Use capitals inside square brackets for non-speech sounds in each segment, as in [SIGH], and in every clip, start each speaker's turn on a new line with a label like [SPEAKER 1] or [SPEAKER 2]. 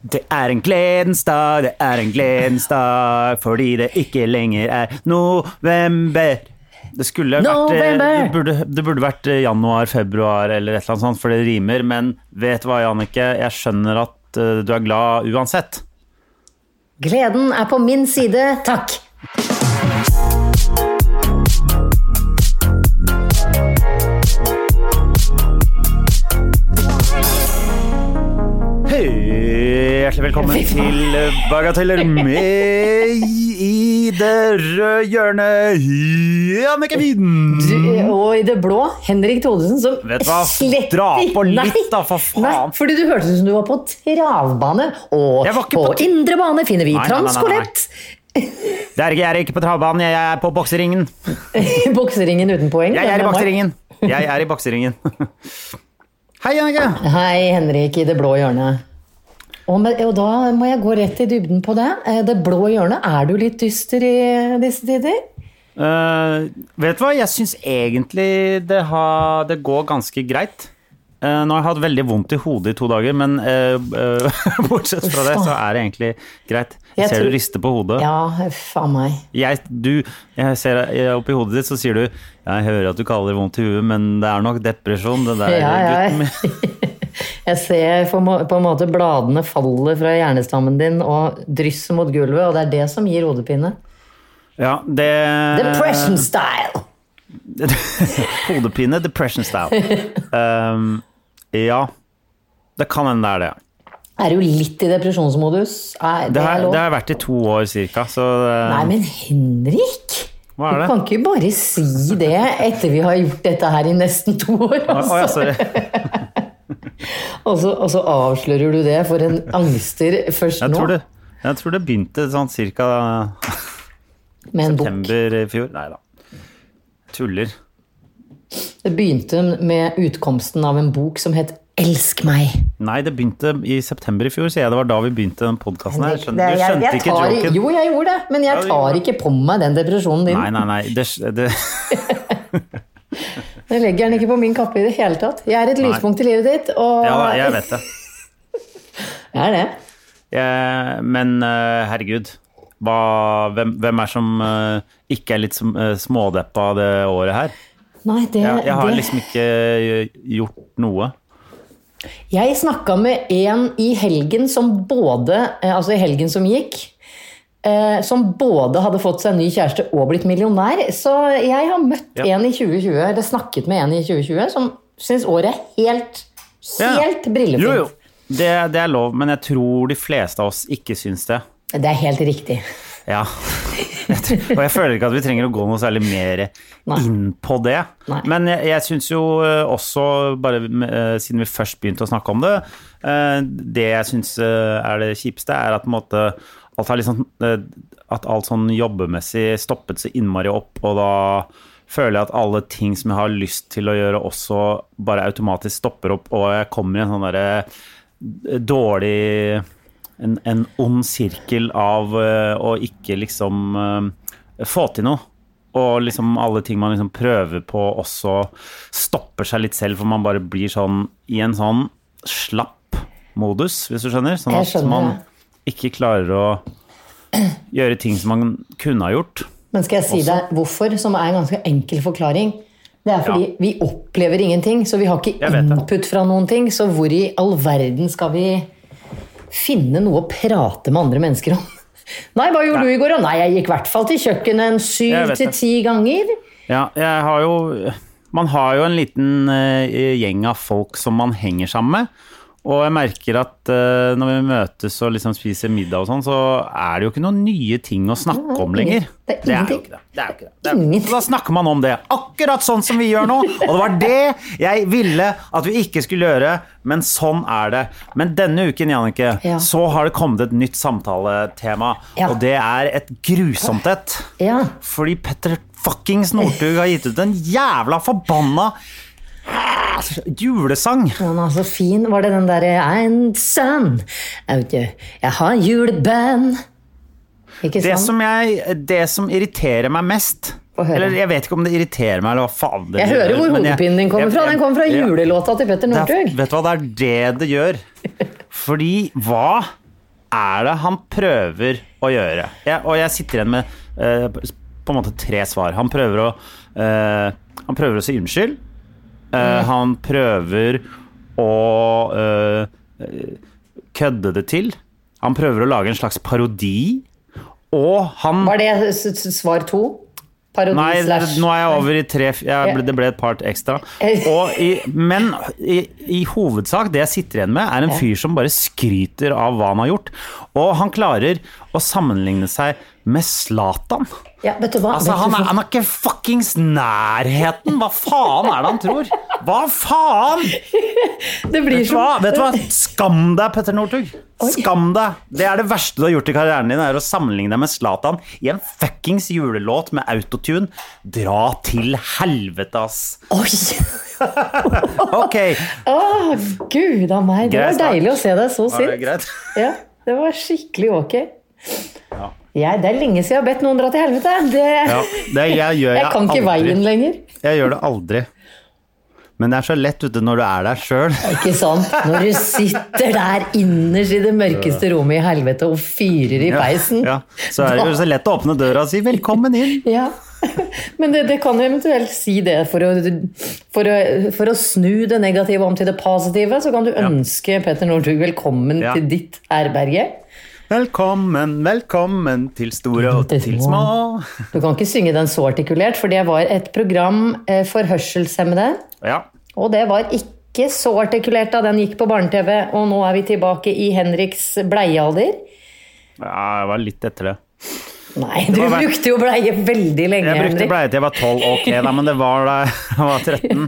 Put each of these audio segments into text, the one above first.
[SPEAKER 1] Det er en gledens dag, det er en gledens dag, fordi det ikke lenger er november. Det skulle vært eh,
[SPEAKER 2] November!
[SPEAKER 1] det burde, det burde vært eh, januar, februar eller et eller annet sånt, for det rimer. Men vet du hva, Jannicke, jeg skjønner at eh, du er glad uansett.
[SPEAKER 2] Gleden er på min side, takk!
[SPEAKER 1] Hei, hjertelig velkommen til eh, Bagateller med i det røde hjørnet, Jannicke
[SPEAKER 2] Du, eh,
[SPEAKER 1] Widen.
[SPEAKER 2] og i det blå, Henrik Thodesen, som
[SPEAKER 1] Mm. Vet du hva?
[SPEAKER 2] slett
[SPEAKER 1] Dra
[SPEAKER 2] ikke-
[SPEAKER 1] på litt
[SPEAKER 2] Nei.
[SPEAKER 1] da, for faen.
[SPEAKER 2] Nei, fordi du hørtes ut som du var på travbane, og
[SPEAKER 1] Jeg var ikke
[SPEAKER 2] på,
[SPEAKER 1] på t-
[SPEAKER 2] indre bane finner vi
[SPEAKER 1] Nei, nei, nei, nei, nei.
[SPEAKER 2] [LAUGHS] transkolept!
[SPEAKER 1] Det er ikke- Jeg er ikke på travbanen, jeg er på bokseringen.
[SPEAKER 2] Bokseringen uten poeng.
[SPEAKER 1] Jeg
[SPEAKER 2] den
[SPEAKER 1] er i
[SPEAKER 2] meg.
[SPEAKER 1] bokseringen. Jeg er i bokseringen. Hei, Jannicke.
[SPEAKER 2] [LAUGHS] Hei, Henrik i det blå hjørnet. Og, med, og da må jeg gå rett i dybden på det. Eh, Det blå hjørnet, er du litt dyster i disse tider?
[SPEAKER 1] Eh, vet du hva, jeg syns egentlig det, har, det går ganske greit. Eh, nå har jeg hatt veldig vondt i hodet i to dager, men eh, eh, [LAUGHS] bortsett fra det, så er det egentlig greit. Jeg
[SPEAKER 2] Jeg
[SPEAKER 1] ser
[SPEAKER 2] tror-
[SPEAKER 1] du rister på hodet.
[SPEAKER 2] Ja, faen meg.
[SPEAKER 1] Jeg, du, jeg ser eh, oppi hodet ditt, så sier du Jeg hører at du kaller det vondt i huet, men det er nok depresjon, det der,
[SPEAKER 2] Ja, ja.
[SPEAKER 1] gutten min. [LAUGHS]
[SPEAKER 2] Jeg ser på, må- på en måte bladene faller fra hjernestammen din og drysser mot gulvet, og det er det som gir hodepine. Eh.
[SPEAKER 1] Ja, det
[SPEAKER 2] Depression style!
[SPEAKER 1] [LAUGHS] Hodepine, depression style. Um, ja. Det kan hende det er det.
[SPEAKER 2] Er du litt i depresjonsmodus? Nei, det
[SPEAKER 1] Det har,
[SPEAKER 2] er lov.
[SPEAKER 1] det har jeg vært i to år cirka, så eh,
[SPEAKER 2] Nei, men Henrik!
[SPEAKER 1] Hva er
[SPEAKER 2] Du
[SPEAKER 1] det?
[SPEAKER 2] kan ikke bare si det etter vi har gjort dette her i nesten to år.
[SPEAKER 1] Å,
[SPEAKER 2] altså.
[SPEAKER 1] å, ja, sorry.
[SPEAKER 2] [LAUGHS] Og så, og så avslører du det for en angster først
[SPEAKER 1] Jeg
[SPEAKER 2] nå,
[SPEAKER 1] tror det, jeg tror det begynte sånn cirka
[SPEAKER 2] med en bok.
[SPEAKER 1] september i fjor. Nei da. Tuller.
[SPEAKER 2] Det begynte med utkomsten av en bok som het 'Elsk meg'.
[SPEAKER 1] Nei, det begynte i september i fjor, sier jeg. Det var da vi begynte den podkasten her. Skjønner, du skjønte
[SPEAKER 2] jeg
[SPEAKER 1] ikke
[SPEAKER 2] tar,
[SPEAKER 1] joken?
[SPEAKER 2] Jo, jeg gjorde det, men
[SPEAKER 1] Ja,
[SPEAKER 2] jeg
[SPEAKER 1] du
[SPEAKER 2] tar
[SPEAKER 1] gjorde
[SPEAKER 2] ikke på meg den depresjonen din.
[SPEAKER 1] Nei, nei, nei. Det, det, [LAUGHS]
[SPEAKER 2] Jeg legger den ikke på min kappe i det hele tatt. Jeg er et lyspunkt i livet ditt, og
[SPEAKER 1] ja da, jeg vet det.
[SPEAKER 2] Jeg er det.
[SPEAKER 1] Eh, men eh, herregud, hva, hvem, hvem er som eh, ikke er litt som, eh, smådeppa det året her?
[SPEAKER 2] Nei, det,
[SPEAKER 1] Jeg, jeg har
[SPEAKER 2] det.
[SPEAKER 1] liksom ikke gjort noe.
[SPEAKER 2] Jeg snakka med en i helgen som både eh, Altså i helgen som gikk. eh, Som både hadde fått seg ny kjæreste og blitt millionær. Så jeg har møtt
[SPEAKER 1] Ja.
[SPEAKER 2] en i 2020, eller snakket med en i 2020, som syns året er helt,
[SPEAKER 1] Ja.
[SPEAKER 2] helt brillefint.
[SPEAKER 1] Jo, jo. Det, det er lov, men jeg tror de fleste av oss ikke syns det.
[SPEAKER 2] Det er helt riktig.
[SPEAKER 1] Ja. [LAUGHS] Jeg tror- Og jeg føler ikke at vi trenger å gå noe særlig mer inn på det.
[SPEAKER 2] Nei.
[SPEAKER 1] Men jeg, jeg syns jo eh, også, bare eh, siden vi først begynte å snakke om det, eh, det jeg syns eh, er det kjipeste, er at på en måte alt har liksom eh, At alt sånn jobbemessig stoppet så innmari opp, og da føler jeg at alle ting som jeg har lyst til å gjøre, også bare automatisk stopper opp, og jeg kommer i en sånn derre eh, dårlig en, en ond sirkel av eh, å ikke liksom eh, få til noe. Og liksom alle ting man liksom prøver på, også stopper seg litt selv, for man bare blir sånn i en sånn slapp modus, hvis du skjønner. Sånn
[SPEAKER 2] Jeg
[SPEAKER 1] at
[SPEAKER 2] skjønner,
[SPEAKER 1] man ikke klarer å gjøre ting som man kunne ha gjort.
[SPEAKER 2] Men skal jeg si deg hvorfor, som er en ganske enkel forklaring? Det er fordi vi opplever ingenting, så vi har ikke
[SPEAKER 1] Jeg vet det.
[SPEAKER 2] input fra noen ting. Så hvor i all verden skal vi finne noe å prate med andre mennesker om? [LAUGHS] Nei, hva gjorde du i går? Og nei, jeg gikk i hvert fall til kjøkkenet en
[SPEAKER 1] Jeg
[SPEAKER 2] syv
[SPEAKER 1] vet
[SPEAKER 2] til
[SPEAKER 1] det.
[SPEAKER 2] ti ganger.
[SPEAKER 1] Ja, jeg har jo Man har jo en liten eh, gjeng av folk som man henger sammen med. Og jeg merker at eh, når vi møtes og liksom spiser middag og sånn, så er det jo ikke noen nye ting å snakke om
[SPEAKER 2] ingen-
[SPEAKER 1] lenger.
[SPEAKER 2] det er
[SPEAKER 1] jo
[SPEAKER 2] ingenting.
[SPEAKER 1] ikke det. det, er jo ikke det. det er, jo-
[SPEAKER 2] Ingenting.
[SPEAKER 1] Så da snakker man om det, akkurat sånn som vi gjør nå. Og det var det jeg ville at vi ikke skulle gjøre, men sånn er det. Men denne uken, Jannicke,
[SPEAKER 2] Ja.
[SPEAKER 1] så har det kommet et nytt samtaletema,
[SPEAKER 2] Ja.
[SPEAKER 1] og det er et grusomt et.
[SPEAKER 2] Ja.
[SPEAKER 1] Fordi Petter fuckings Northug har gitt ut en jævla forbanna julesang.
[SPEAKER 2] Han er så fin. Var det den derre I'm son out there. Jeg har juleband. Ikke
[SPEAKER 1] Det
[SPEAKER 2] sant?
[SPEAKER 1] som, jeg, det som irriterer meg mest
[SPEAKER 2] Få høre.
[SPEAKER 1] Eller jeg vet ikke om det irriterer meg, eller hva faen det
[SPEAKER 2] Jeg
[SPEAKER 1] gjør,
[SPEAKER 2] hører hvor
[SPEAKER 1] men jeg-
[SPEAKER 2] hodepinen din kommer
[SPEAKER 1] jeg-
[SPEAKER 2] fra. Den
[SPEAKER 1] jeg-
[SPEAKER 2] kommer fra
[SPEAKER 1] ja.
[SPEAKER 2] julelåta til Petter
[SPEAKER 1] Det er,
[SPEAKER 2] Northug.
[SPEAKER 1] vet du hva, det er det det gjør. Fordi hva er det han prøver å gjøre? Jeg, og jeg sitter igjen med eh, på en måte tre svar. Han prøver å, eh, han prøver å si unnskyld. Eh,
[SPEAKER 2] Mm.
[SPEAKER 1] han prøver å eh, kødde det til. Han prøver å lage en slags parodi. Og han
[SPEAKER 2] Var det s- s- svar to? Parodi
[SPEAKER 1] Nei,
[SPEAKER 2] slash
[SPEAKER 1] nå er jeg over i tre jeg ble, Det ble et par
[SPEAKER 2] [LAUGHS]
[SPEAKER 1] ekstra. Og i, men i, i hovedsak, det jeg sitter igjen med, er en fyr som bare skryter av hva han har gjort. Og han klarer å sammenligne seg med Zlatan.
[SPEAKER 2] ja, Vet du hva?
[SPEAKER 1] Altså,
[SPEAKER 2] vet
[SPEAKER 1] han
[SPEAKER 2] du,
[SPEAKER 1] er, han er ikke fuckings nærheten! Hva faen er det han tror? Hva faen?!
[SPEAKER 2] det blir
[SPEAKER 1] Vet du hva?
[SPEAKER 2] som
[SPEAKER 1] Vet du hva? Skam deg, Petter Northug. Skam deg. Det er det verste du har gjort i karrieren din, er å sammenligne deg med Zlatan i en fuckings julelåt med autotune. Dra til helvete, ass.
[SPEAKER 2] Oi!
[SPEAKER 1] Ok.
[SPEAKER 2] Å, gud a meg. Det
[SPEAKER 1] Grei
[SPEAKER 2] var
[SPEAKER 1] start.
[SPEAKER 2] deilig å se deg så
[SPEAKER 1] Var det
[SPEAKER 2] sint.
[SPEAKER 1] greit?
[SPEAKER 2] Ja, det var skikkelig ok. Jeg, det er lenge siden jeg har bedt noen dra til helvete. Det,
[SPEAKER 1] Ja, det jeg gjør jeg
[SPEAKER 2] jeg kan ikke
[SPEAKER 1] aldri.
[SPEAKER 2] veien lenger.
[SPEAKER 1] Jeg gjør det aldri. Men det er så lett ute når du er der sjøl.
[SPEAKER 2] Ikke sant? Når du sitter der innerst i det mørkeste rommet i helvete og fyrer i peisen.
[SPEAKER 1] Ja, så er det jo så lett å åpne døra og si 'velkommen inn'.
[SPEAKER 2] Ja, [LAUGHS] men det, det kan jo eventuelt si det. For å, for, å, for å snu det negative om til det positive, så kan du ønske Petter Northug velkommen
[SPEAKER 1] Ja.
[SPEAKER 2] til ditt herberge.
[SPEAKER 1] Velkommen, velkommen til store og til små.
[SPEAKER 2] Du kan ikke synge den så artikulert, for det var et program eh, for hørselshemmede.
[SPEAKER 1] Ja.
[SPEAKER 2] Og det var ikke så artikulert da den gikk på barne-TV, og nå er vi tilbake i Henriks bleiealder.
[SPEAKER 1] ja, jeg var litt etter det.
[SPEAKER 2] Nei, du
[SPEAKER 1] var vel-
[SPEAKER 2] brukte jo bleie veldig lenge,
[SPEAKER 1] Jeg brukte
[SPEAKER 2] Henrik.
[SPEAKER 1] bleie til jeg var 12, ok da, men det var da jeg var 13.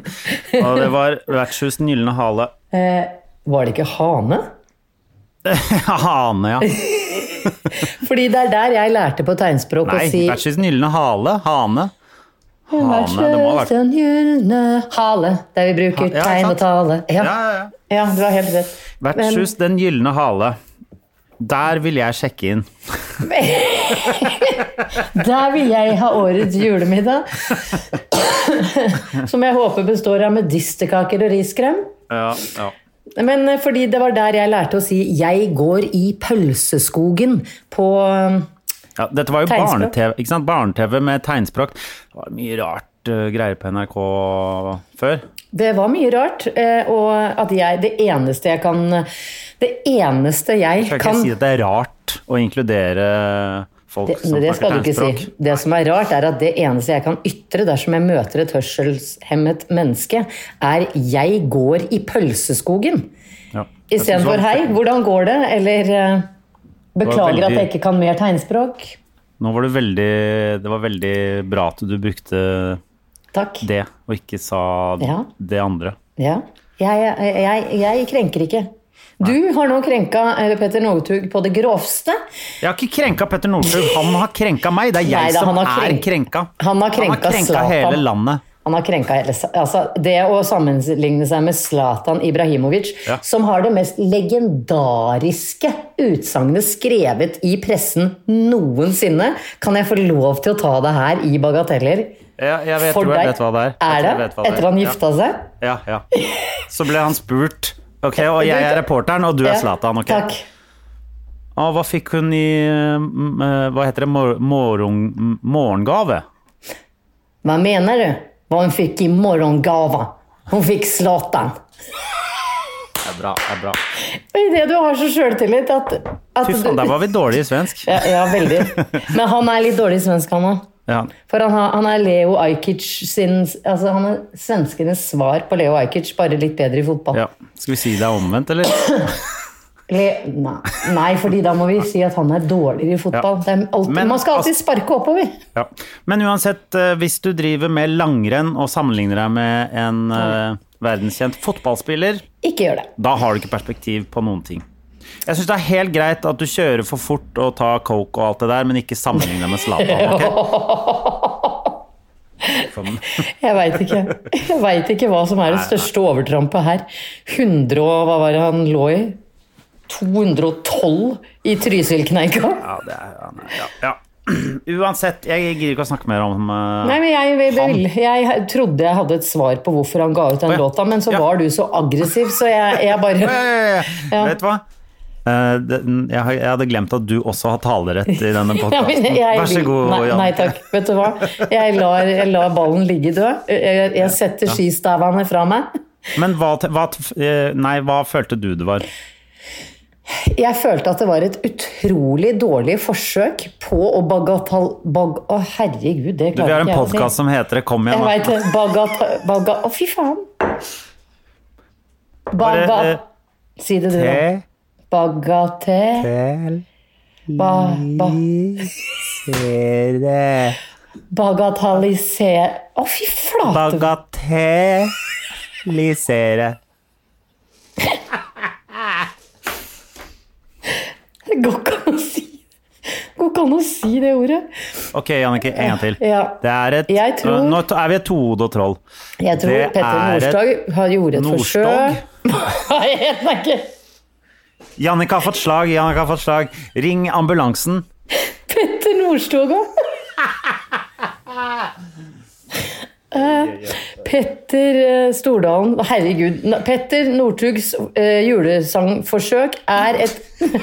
[SPEAKER 1] Og det var Vertshus Den gylne hale. [LAUGHS]
[SPEAKER 2] Eh, Var det ikke hane?
[SPEAKER 1] Hane, ja.
[SPEAKER 2] Fordi det er der jeg lærte på tegnspråk
[SPEAKER 1] Nei,
[SPEAKER 2] å si
[SPEAKER 1] Vertshus Den gylne hale. Hane.
[SPEAKER 2] Hane,
[SPEAKER 1] Hane, det må ha vært
[SPEAKER 2] Den gylne hale, der vi bruker
[SPEAKER 1] Ja, ikke
[SPEAKER 2] tegn og
[SPEAKER 1] sant?
[SPEAKER 2] tale.
[SPEAKER 1] ja,
[SPEAKER 2] Ja,
[SPEAKER 1] ja, ja.
[SPEAKER 2] ja, du har helt rett.
[SPEAKER 1] Vertshus Den gylne hale. Der vil jeg sjekke inn.
[SPEAKER 2] Der vil jeg ha årets
[SPEAKER 1] [LAUGHS]
[SPEAKER 2] julemiddag. Som jeg håper består av medisterkaker og riskrem.
[SPEAKER 1] Ja, ja.
[SPEAKER 2] Men eh, fordi det var der jeg lærte å si 'jeg går i pølseskogen' på eh,
[SPEAKER 1] Ja, dette var jo
[SPEAKER 2] Tegnspråk.
[SPEAKER 1] barne-TV ikke sant? Barne-TV med tegnspråk. Det var mye rart eh, greier på NRK før.
[SPEAKER 2] Det var mye rart, eh, og at jeg Det eneste jeg kan Det eneste jeg
[SPEAKER 1] Skal ikke
[SPEAKER 2] kan
[SPEAKER 1] si at det er rart å inkludere folk
[SPEAKER 2] det,
[SPEAKER 1] som
[SPEAKER 2] det skal
[SPEAKER 1] snakker
[SPEAKER 2] du ikke
[SPEAKER 1] tegnspråk.
[SPEAKER 2] si. Det som er rart, er at det eneste jeg kan ytre dersom jeg møter et hørselshemmet menneske, er 'jeg går i pølseskogen'.
[SPEAKER 1] Ja. Jeg synes det
[SPEAKER 2] Istedenfor
[SPEAKER 1] var-
[SPEAKER 2] 'hei, hvordan går det?' eller eh, 'beklager at jeg
[SPEAKER 1] veldig-
[SPEAKER 2] ikke kan mer tegnspråk'.
[SPEAKER 1] Nå var det veldig Det var veldig bra at du brukte
[SPEAKER 2] Takk.
[SPEAKER 1] det, og ikke sa
[SPEAKER 2] Ja.
[SPEAKER 1] det andre.
[SPEAKER 2] Ja. Jeg, jeg, jeg krenker ikke. Du har nå krenka eh, Petter Northug på det grovste.
[SPEAKER 1] Jeg har ikke krenka Petter Northug, han har krenka meg. Det er jeg
[SPEAKER 2] Nei da,
[SPEAKER 1] som
[SPEAKER 2] han har
[SPEAKER 1] er
[SPEAKER 2] krenk-
[SPEAKER 1] krenka.
[SPEAKER 2] Han har krenka Zlatan.
[SPEAKER 1] hele landet.
[SPEAKER 2] Han har krenka hele sa- altså, Det å sammenligne seg med Zlatan Ibrahimovic,
[SPEAKER 1] Ja.
[SPEAKER 2] som har det mest legendariske utsagnet skrevet i pressen noensinne, kan jeg få lov til å ta det her i bagateller?
[SPEAKER 1] Ja, jeg vet,
[SPEAKER 2] For
[SPEAKER 1] tror jeg
[SPEAKER 2] deg
[SPEAKER 1] vet hva det er. Jeg
[SPEAKER 2] er
[SPEAKER 1] tror
[SPEAKER 2] det,
[SPEAKER 1] jeg vet hva det er.
[SPEAKER 2] etter han gifta seg?
[SPEAKER 1] Ja, ja, ja. Så ble han spurt. Ok, Og jeg er reporteren, og du er
[SPEAKER 2] Ja.
[SPEAKER 1] Zlatan. ok.
[SPEAKER 2] Takk.
[SPEAKER 1] Og hva fikk hun i mm, eh, Hva heter det? Mor morgen- m- morgengave?
[SPEAKER 2] Hva mener du? Hva hun fikk i morgongave? Hun fikk Zlatan.
[SPEAKER 1] Det er bra. det er bra.
[SPEAKER 2] Idet du har så sjøltillit at, at
[SPEAKER 1] Fy faen,
[SPEAKER 2] du-
[SPEAKER 1] der var vi dårlige i svensk. [LAUGHS]
[SPEAKER 2] ja, ja, veldig. Men han er litt dårlig i svensk, han òg.
[SPEAKER 1] Ja.
[SPEAKER 2] For han, har, han er Leo Ajkic sin altså Han er svenskenes svar på Leo Ajkic, bare litt bedre i fotball.
[SPEAKER 1] ja. Skal vi si det er omvendt, eller?
[SPEAKER 2] Le nei, nei, fordi da må vi si at han er dårligere i fotball.
[SPEAKER 1] Ja.
[SPEAKER 2] Det er alltid,
[SPEAKER 1] Men altså-
[SPEAKER 2] man skal alltid
[SPEAKER 1] As-
[SPEAKER 2] sparke oppover.
[SPEAKER 1] Ja. Men uansett, eh, hvis du driver med langrenn og sammenligner deg med en eh, verdenskjent fotballspiller,
[SPEAKER 2] Ikke gjør det.
[SPEAKER 1] da har du ikke perspektiv på noen ting. Jeg syns det er helt greit at du kjører for fort og tar coke og alt det der, men ikke sammenlign deg med
[SPEAKER 2] [LAUGHS]
[SPEAKER 1] Zlatan. ok? Sånn.
[SPEAKER 2] Jeg veit ikke. Jeg vet ikke hva som er det største overtrampet her. 100 og Hva var det han lå i? 212 i Trysilkneika?
[SPEAKER 1] Ja, det er, ja, nei, ja, [CLEARS THROAT] ja. Uansett, jeg gidder ikke å snakke mer om eh,
[SPEAKER 2] Nei, men jeg, jeg,
[SPEAKER 1] Han.
[SPEAKER 2] jeg, trodde jeg hadde et svar på hvorfor han ga ut den
[SPEAKER 1] Å, ja.
[SPEAKER 2] låta, men så
[SPEAKER 1] Ja.
[SPEAKER 2] var du så aggressiv, så jeg, jeg bare
[SPEAKER 1] Eh, Vet du hva? Eh, den- Jeg har- jeg hadde glemt at du også har talerett i denne
[SPEAKER 2] [LAUGHS] [LAUGHS] Ja, men
[SPEAKER 1] podkasten.
[SPEAKER 2] jeg
[SPEAKER 1] Vær så
[SPEAKER 2] vil-
[SPEAKER 1] god,
[SPEAKER 2] Nei,
[SPEAKER 1] Janne.
[SPEAKER 2] nei takk, vet du hva. Jeg lar, jeg lar ballen ligge død. Jeg, jeg setter skistavene fra meg.
[SPEAKER 1] Men hva, te- hva, te- eh, nei, hva følte du det var?
[SPEAKER 2] Jeg følte at det var et utrolig dårlig forsøk på å bagatell... Bag, å, herregud, det
[SPEAKER 1] Du, vi har
[SPEAKER 2] klarer
[SPEAKER 1] en
[SPEAKER 2] ikke jeg å si.
[SPEAKER 1] podkast som heter det 'Kom igjen'. da.
[SPEAKER 2] Jeg veit det. Bagatell... Baga, å, fy faen.
[SPEAKER 1] Bare,
[SPEAKER 2] Baga...
[SPEAKER 1] eh,
[SPEAKER 2] Si det, du. da.
[SPEAKER 1] Te-
[SPEAKER 2] Bagatell...
[SPEAKER 1] tel-
[SPEAKER 2] Ba, ba,
[SPEAKER 1] sere-
[SPEAKER 2] bagatelliser... Å, fy flate.
[SPEAKER 1] Bagatellisere.
[SPEAKER 2] Det går ikke an å si det går ikke an å si det ordet.
[SPEAKER 1] Ok, Jannicke, en gang til.
[SPEAKER 2] Ja.
[SPEAKER 1] Det er et,
[SPEAKER 2] Jeg tror-
[SPEAKER 1] Nå er vi et tohode og troll.
[SPEAKER 2] Jeg tror
[SPEAKER 1] Det
[SPEAKER 2] Petter
[SPEAKER 1] er et-
[SPEAKER 2] Norstag har gjorde et
[SPEAKER 1] Norstag?
[SPEAKER 2] forsøk. [LAUGHS] Nei, jeg vet ikke.
[SPEAKER 1] Jannicke har fått slag, Jannicke har fått slag. Ring ambulansen.
[SPEAKER 2] Petter Norstog òg. Eh, Petter eh, Stordalen Herregud. na- Petter Northugs eh, julesangforsøk er et [LAUGHS]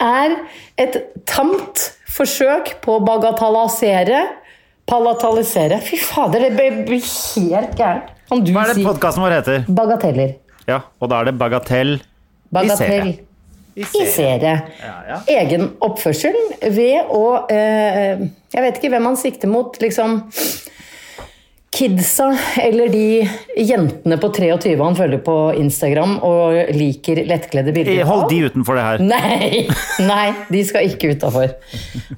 [SPEAKER 2] Er et tamt forsøk på å bagatellisere Palatalisere. Fy fader, det blir- blir helt gærent. Kan du
[SPEAKER 1] Hva er det
[SPEAKER 2] si
[SPEAKER 1] podkasten vår heter?
[SPEAKER 2] bagateller?
[SPEAKER 1] Ja, og da er det Bagatell.
[SPEAKER 2] Bagatell. I serie.
[SPEAKER 1] ja.
[SPEAKER 2] Egen oppførsel ved å eh, Jeg vet ikke hvem han sikter mot. Liksom kidsa eller de jentene på 23 han følger på Instagram og liker lettkledde
[SPEAKER 1] Eh,
[SPEAKER 2] bilder
[SPEAKER 1] Hold
[SPEAKER 2] av.
[SPEAKER 1] de utenfor det her.
[SPEAKER 2] Mm. Nei, nei, de skal ikke utafor.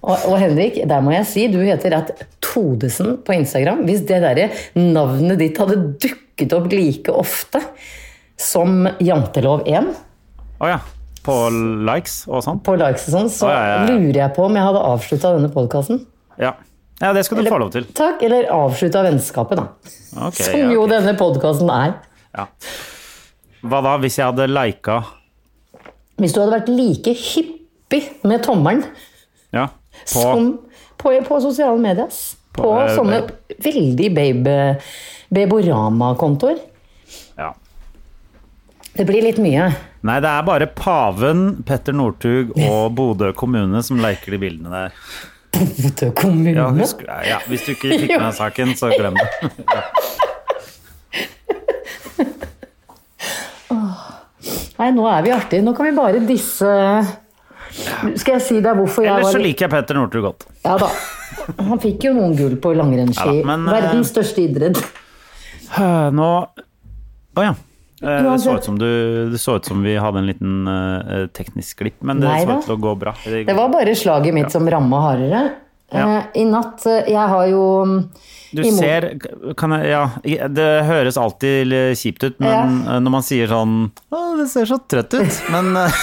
[SPEAKER 2] Og, og Henrik, der må jeg si, du heter at Todesen på Instagram. Hvis det derre navnet ditt hadde dukket opp like ofte som Jantelov 1
[SPEAKER 1] Å ja. På likes og sånn?
[SPEAKER 2] på likes og sånn, så
[SPEAKER 1] Å, ja, ja, ja.
[SPEAKER 2] lurer jeg på om jeg hadde avslutta denne podkasten.
[SPEAKER 1] Ja. ja, det skal du få lov til.
[SPEAKER 2] Takk, eller avslutta vennskapet, da.
[SPEAKER 1] Ok,
[SPEAKER 2] Som
[SPEAKER 1] ja,
[SPEAKER 2] jo
[SPEAKER 1] ok.
[SPEAKER 2] denne podkasten er.
[SPEAKER 1] Ja. Hva da, hvis jeg hadde lika
[SPEAKER 2] Hvis du hadde vært like hyppig med tommelen
[SPEAKER 1] ja, på
[SPEAKER 2] som på, på sosiale medier, ass. på,
[SPEAKER 1] eh,
[SPEAKER 2] sånne veldig babe, baborama-kontoer
[SPEAKER 1] ja.
[SPEAKER 2] Det blir litt mye.
[SPEAKER 1] Nei, det er bare paven, Petter Northug og Bodø kommune som liker de bildene der.
[SPEAKER 2] Bodø kommune?
[SPEAKER 1] Ja, husk, ja, hvis du ikke fikk med deg saken, så glem
[SPEAKER 2] [LAUGHS]
[SPEAKER 1] det.
[SPEAKER 2] Nei, nå er vi artige. Nå kan vi bare disse Skal jeg si deg hvorfor jeg
[SPEAKER 1] Ellers
[SPEAKER 2] var
[SPEAKER 1] så liker jeg Petter Northug godt.
[SPEAKER 2] Ja da. Han fikk jo noen gull på
[SPEAKER 1] Ja
[SPEAKER 2] langrennsski.
[SPEAKER 1] da, men, eh,
[SPEAKER 2] Verdens største idrett.
[SPEAKER 1] Eh, Nå Å ja. Eh, Det så,
[SPEAKER 2] Uansett.
[SPEAKER 1] ut som du, det så ut som vi hadde en liten eh, teknisk glipp, men det
[SPEAKER 2] Nei
[SPEAKER 1] så
[SPEAKER 2] da.
[SPEAKER 1] ut til å gå bra. Det,
[SPEAKER 2] Det var bare slaget mitt som ramma hardere.
[SPEAKER 1] Ja.
[SPEAKER 2] Eh, I natt eh, Jeg har jo
[SPEAKER 1] Du
[SPEAKER 2] i mot-
[SPEAKER 1] ser kan jeg, Ja, det høres alltid litt kjipt ut, men eh, når man sier sånn Å, det ser så trøtt ut, men eh,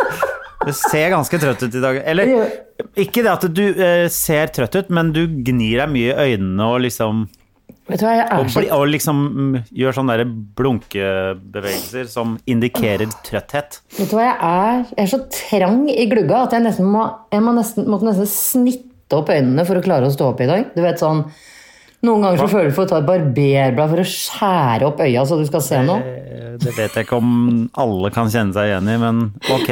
[SPEAKER 1] [LAUGHS] Du ser ganske trøtt ut i dag. Eller ikke det at du eh, ser trøtt ut, men du gnir deg mye i øynene og liksom
[SPEAKER 2] Vet du hva, jeg er
[SPEAKER 1] Og,
[SPEAKER 2] så
[SPEAKER 1] bli, og liksom mm, gjør sånne der blunkebevegelser som indikerer trøtthet.
[SPEAKER 2] Vet du hva, jeg er, jeg er så trang i glugga at jeg nesten må Jeg må nesten, måtte nesten snitte opp øynene for å klare å stå opp i dag. Du vet sånn Noen ganger så føler du for å ta et barberblad for å skjære opp øya så du skal se noe.
[SPEAKER 1] Eh, Det vet jeg ikke om alle kan kjenne seg igjen i, men ok.